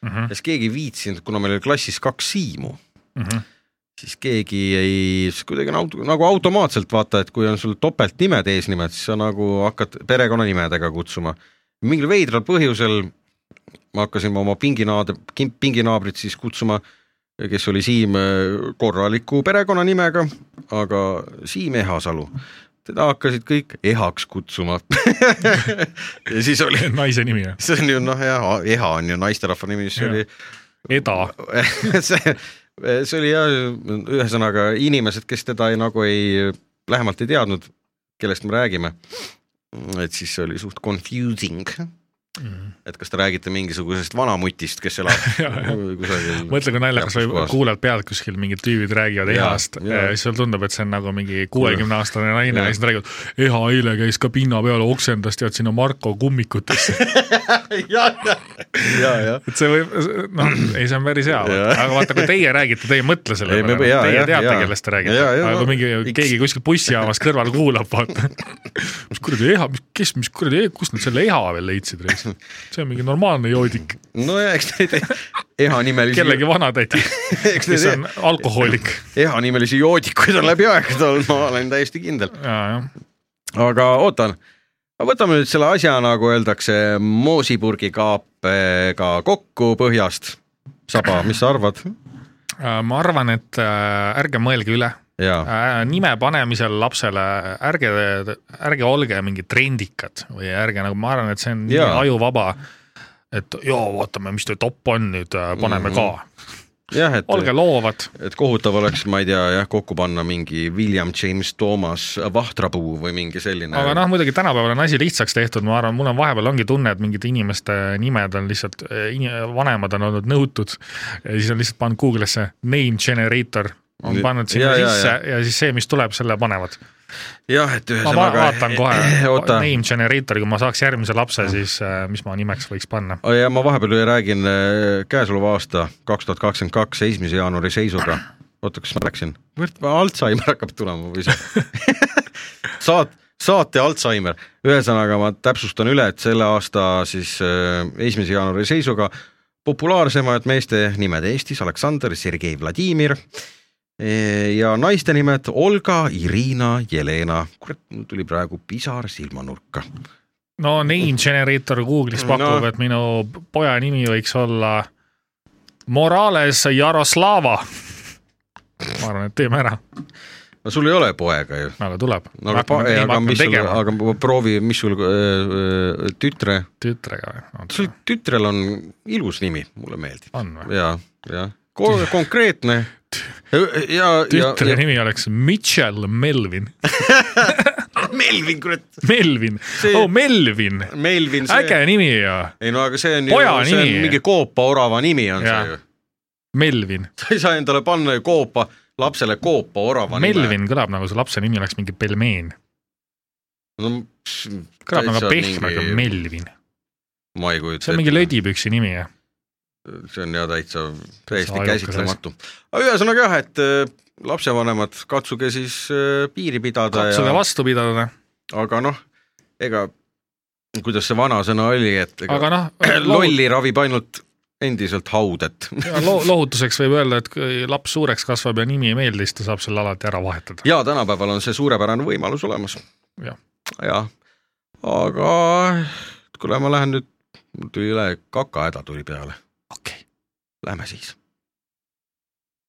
Speaker 4: Mm -hmm.
Speaker 5: ja siis keegi ei viitsinud , kuna meil oli klassis kaks Siimu ,
Speaker 4: mm -hmm.
Speaker 5: <laughs> siis keegi ei , siis kuidagi on auto, nagu automaatselt vaata , et kui on sul topeltnimed eesnimed , siis sa nagu hakkad perekonnanimedega kutsuma . mingil veidral põhjusel ma hakkasin oma pinginaad- , pinginaabrit siis kutsuma , kes oli Siim äh, korraliku perekonnanimega , aga Siim Ehasalu teda hakkasid kõik ehaks kutsuma . <laughs> ja siis oli ,
Speaker 4: naise nimi jah ,
Speaker 5: see on ju noh , jah , eha on ju naisterahva nimi , siis
Speaker 4: Jah.
Speaker 5: oli
Speaker 4: Eda .
Speaker 5: <laughs> see , see oli jah , ühesõnaga inimesed , kes teda ei, nagu ei , lähemalt ei teadnud , kellest me räägime . et siis see oli suht confusing ,
Speaker 4: Mhm.
Speaker 5: et kas te räägite mingisugusest vanamutist , kes
Speaker 4: <laughs>
Speaker 5: elab kusagil .
Speaker 4: mõtle , kui naljakas
Speaker 5: Täpselt
Speaker 4: või
Speaker 5: kohas. <laughs>
Speaker 4: kuulad pealt kuskil mingid tüübid räägivad
Speaker 5: Jaa,
Speaker 4: ehast ,
Speaker 5: jaa.
Speaker 4: siis sulle tundub , et see on nagu mingi kuuekümneaastane naine ja
Speaker 5: Jaa.
Speaker 4: siis nad räägivad , eha eile käis ka pinna peal oksendas , tead sinna Marko kummikutesse .
Speaker 5: <laughs> ja , ja , ja .
Speaker 4: et see võib , noh , ei see on päris hea ,
Speaker 5: Jaa.
Speaker 4: aga vaata , kui teie räägite , teie ei mõtle selle
Speaker 5: Ei, me-
Speaker 4: peale ,
Speaker 5: jaa,
Speaker 4: teie
Speaker 5: jah,
Speaker 4: teate ,
Speaker 5: jaa.
Speaker 4: kellest te räägite ,
Speaker 5: Jaa, jaa,
Speaker 4: aga kui
Speaker 5: ma-
Speaker 4: mingi ,
Speaker 5: miks-
Speaker 4: keegi kuskil bussijaamas kõrval kuulab ,
Speaker 5: <laughs>
Speaker 4: vaata . mis kuradi eha , kes , mis kuradi , kust nad selle eha veel leidsid , see on mingi normaalne joodik ,
Speaker 5: nojah , eks neid ehanimelisi ,
Speaker 4: kellegi vanatädi ,
Speaker 5: <laughs> eks e-
Speaker 4: kes
Speaker 5: neid
Speaker 4: on
Speaker 5: <laughs>
Speaker 4: alkohoolik .
Speaker 5: ehanimelisi joodikuid on läbi aegade olnud , ma olen täiesti kindel . aga ootan , võtame nüüd selle asja , nagu öeldakse , moosipurgikaapega kokku põhjast . saba , mis sa arvad ?
Speaker 4: ma arvan , et äh, ärge mõelge üle ,
Speaker 5: jaa ,
Speaker 4: nime panemisel lapsele ärge , ärge olge mingid trendikad või ärge nagu , ma arvan , et see on nii
Speaker 5: Jaa.
Speaker 4: ajuvaba . et jaa , vaatame , mis teil top on nüüd , paneme mm
Speaker 5: Mhm.
Speaker 4: -hmm. ka .
Speaker 5: jah , et
Speaker 4: olge loovad .
Speaker 5: et kohutav oleks , ma ei tea jah , kokku panna mingi William James Thomas vahtrapuu või mingi selline .
Speaker 4: aga noh , muidugi tänapäeval on asi lihtsaks tehtud , ma arvan , mul on vahepeal ongi tunne , et mingid inimeste nimed on lihtsalt , vanemad on olnud nõutud ja siis on lihtsalt pannud Google'isse name generator , on
Speaker 5: Nii-
Speaker 4: pannud sinna
Speaker 5: ja, ja,
Speaker 4: sisse ja. ja siis see , mis tuleb , selle panevad .
Speaker 5: jah , et
Speaker 4: ma
Speaker 5: ühesõnaga
Speaker 4: va- . vaatan kohe
Speaker 5: <laughs> oota ,
Speaker 4: name generator , kui ma saaks järgmise lapse , siis äh, mis ma nimeks võiks panna .
Speaker 5: ja ma vahepeal räägin äh, käesoleva aasta kaks tuhat kakskümmend kaks esimese jaanuari seisuga . oota , kas ma läksin ? Alzheimer hakkab tulema või see <laughs> saat- , saate Alzheimer , ühesõnaga ma täpsustan üle , et selle aasta siis äh, esimese jaanuari seisuga populaarsemad meeste nimed Eestis Aleksander , Sergei , Vladimir eh, ja naiste nimed Olga , Irina , Jelena , kurat , mul tuli praegu pisar silmanurka .
Speaker 4: no name generator Google'is pakub
Speaker 5: No.
Speaker 4: no. , et minu poja nimi võiks olla Morales Jaroslava . ma arvan , et teeme ära ,
Speaker 5: no sul ei ole poega ju ?
Speaker 4: aga tuleb .
Speaker 5: no aga , aga mis sul ,
Speaker 4: tegema
Speaker 5: aga ma proovi , mis sul äh, äh, tütre ,
Speaker 4: tütrega või ?
Speaker 5: sul tütrel on ilus nimi , mulle meeldib
Speaker 4: on või ?
Speaker 5: ja , ja Ko- konkreetne ja , ja , ja,
Speaker 4: tütre
Speaker 5: ja
Speaker 4: nimi oleks Mitchell
Speaker 5: <laughs>
Speaker 4: Melvin ,
Speaker 5: Melvin , kurat ,
Speaker 4: Melvin
Speaker 5: See-
Speaker 4: see... , oh Melvin ,
Speaker 5: Melvin , see ,
Speaker 4: äge nimi ja
Speaker 5: ei no aga see on ju
Speaker 4: Poja ,
Speaker 5: see on
Speaker 4: nimi.
Speaker 5: mingi koopaorava nimi on
Speaker 4: Jaa.
Speaker 5: see ju .
Speaker 4: Melvin ,
Speaker 5: sa ei saa endale panna ju koopa , lapsele koopaorava nime .
Speaker 4: Melvin kõlab nagu su lapse nimi oleks mingi pelmeen ,
Speaker 5: no, .
Speaker 4: kõlab nagu pehme , aga . Melvin ,
Speaker 5: ma ei kujuta
Speaker 4: see on mingi . lödipüksi nimi ja
Speaker 5: see on ja täitsa täiesti
Speaker 4: See on ajukas
Speaker 5: käsitlematu . aga ühesõnaga jah , et äh, lapsevanemad , katsuge siis äh, piiri pidada
Speaker 4: katsuge
Speaker 5: ja ,
Speaker 4: vastu pidada
Speaker 5: aga noh , ega kuidas see vanasõna oli , et ega <clears throat>
Speaker 4: aga noh ,
Speaker 5: lolli ravib ainult endiselt haud , et <laughs>
Speaker 4: lo lohutuseks võib öelda , et kui laps suureks kasvab ja nimi ei meeldi , siis ta saab selle alati ära vahetada .
Speaker 5: ja tänapäeval on see suurepärane võimalus olemas .
Speaker 4: Jah.
Speaker 5: jah , aga kuule , ma lähen nüüd , mul tuli üle , kakahäda tuli peale .
Speaker 4: okei okay. ,
Speaker 5: Lähme siis .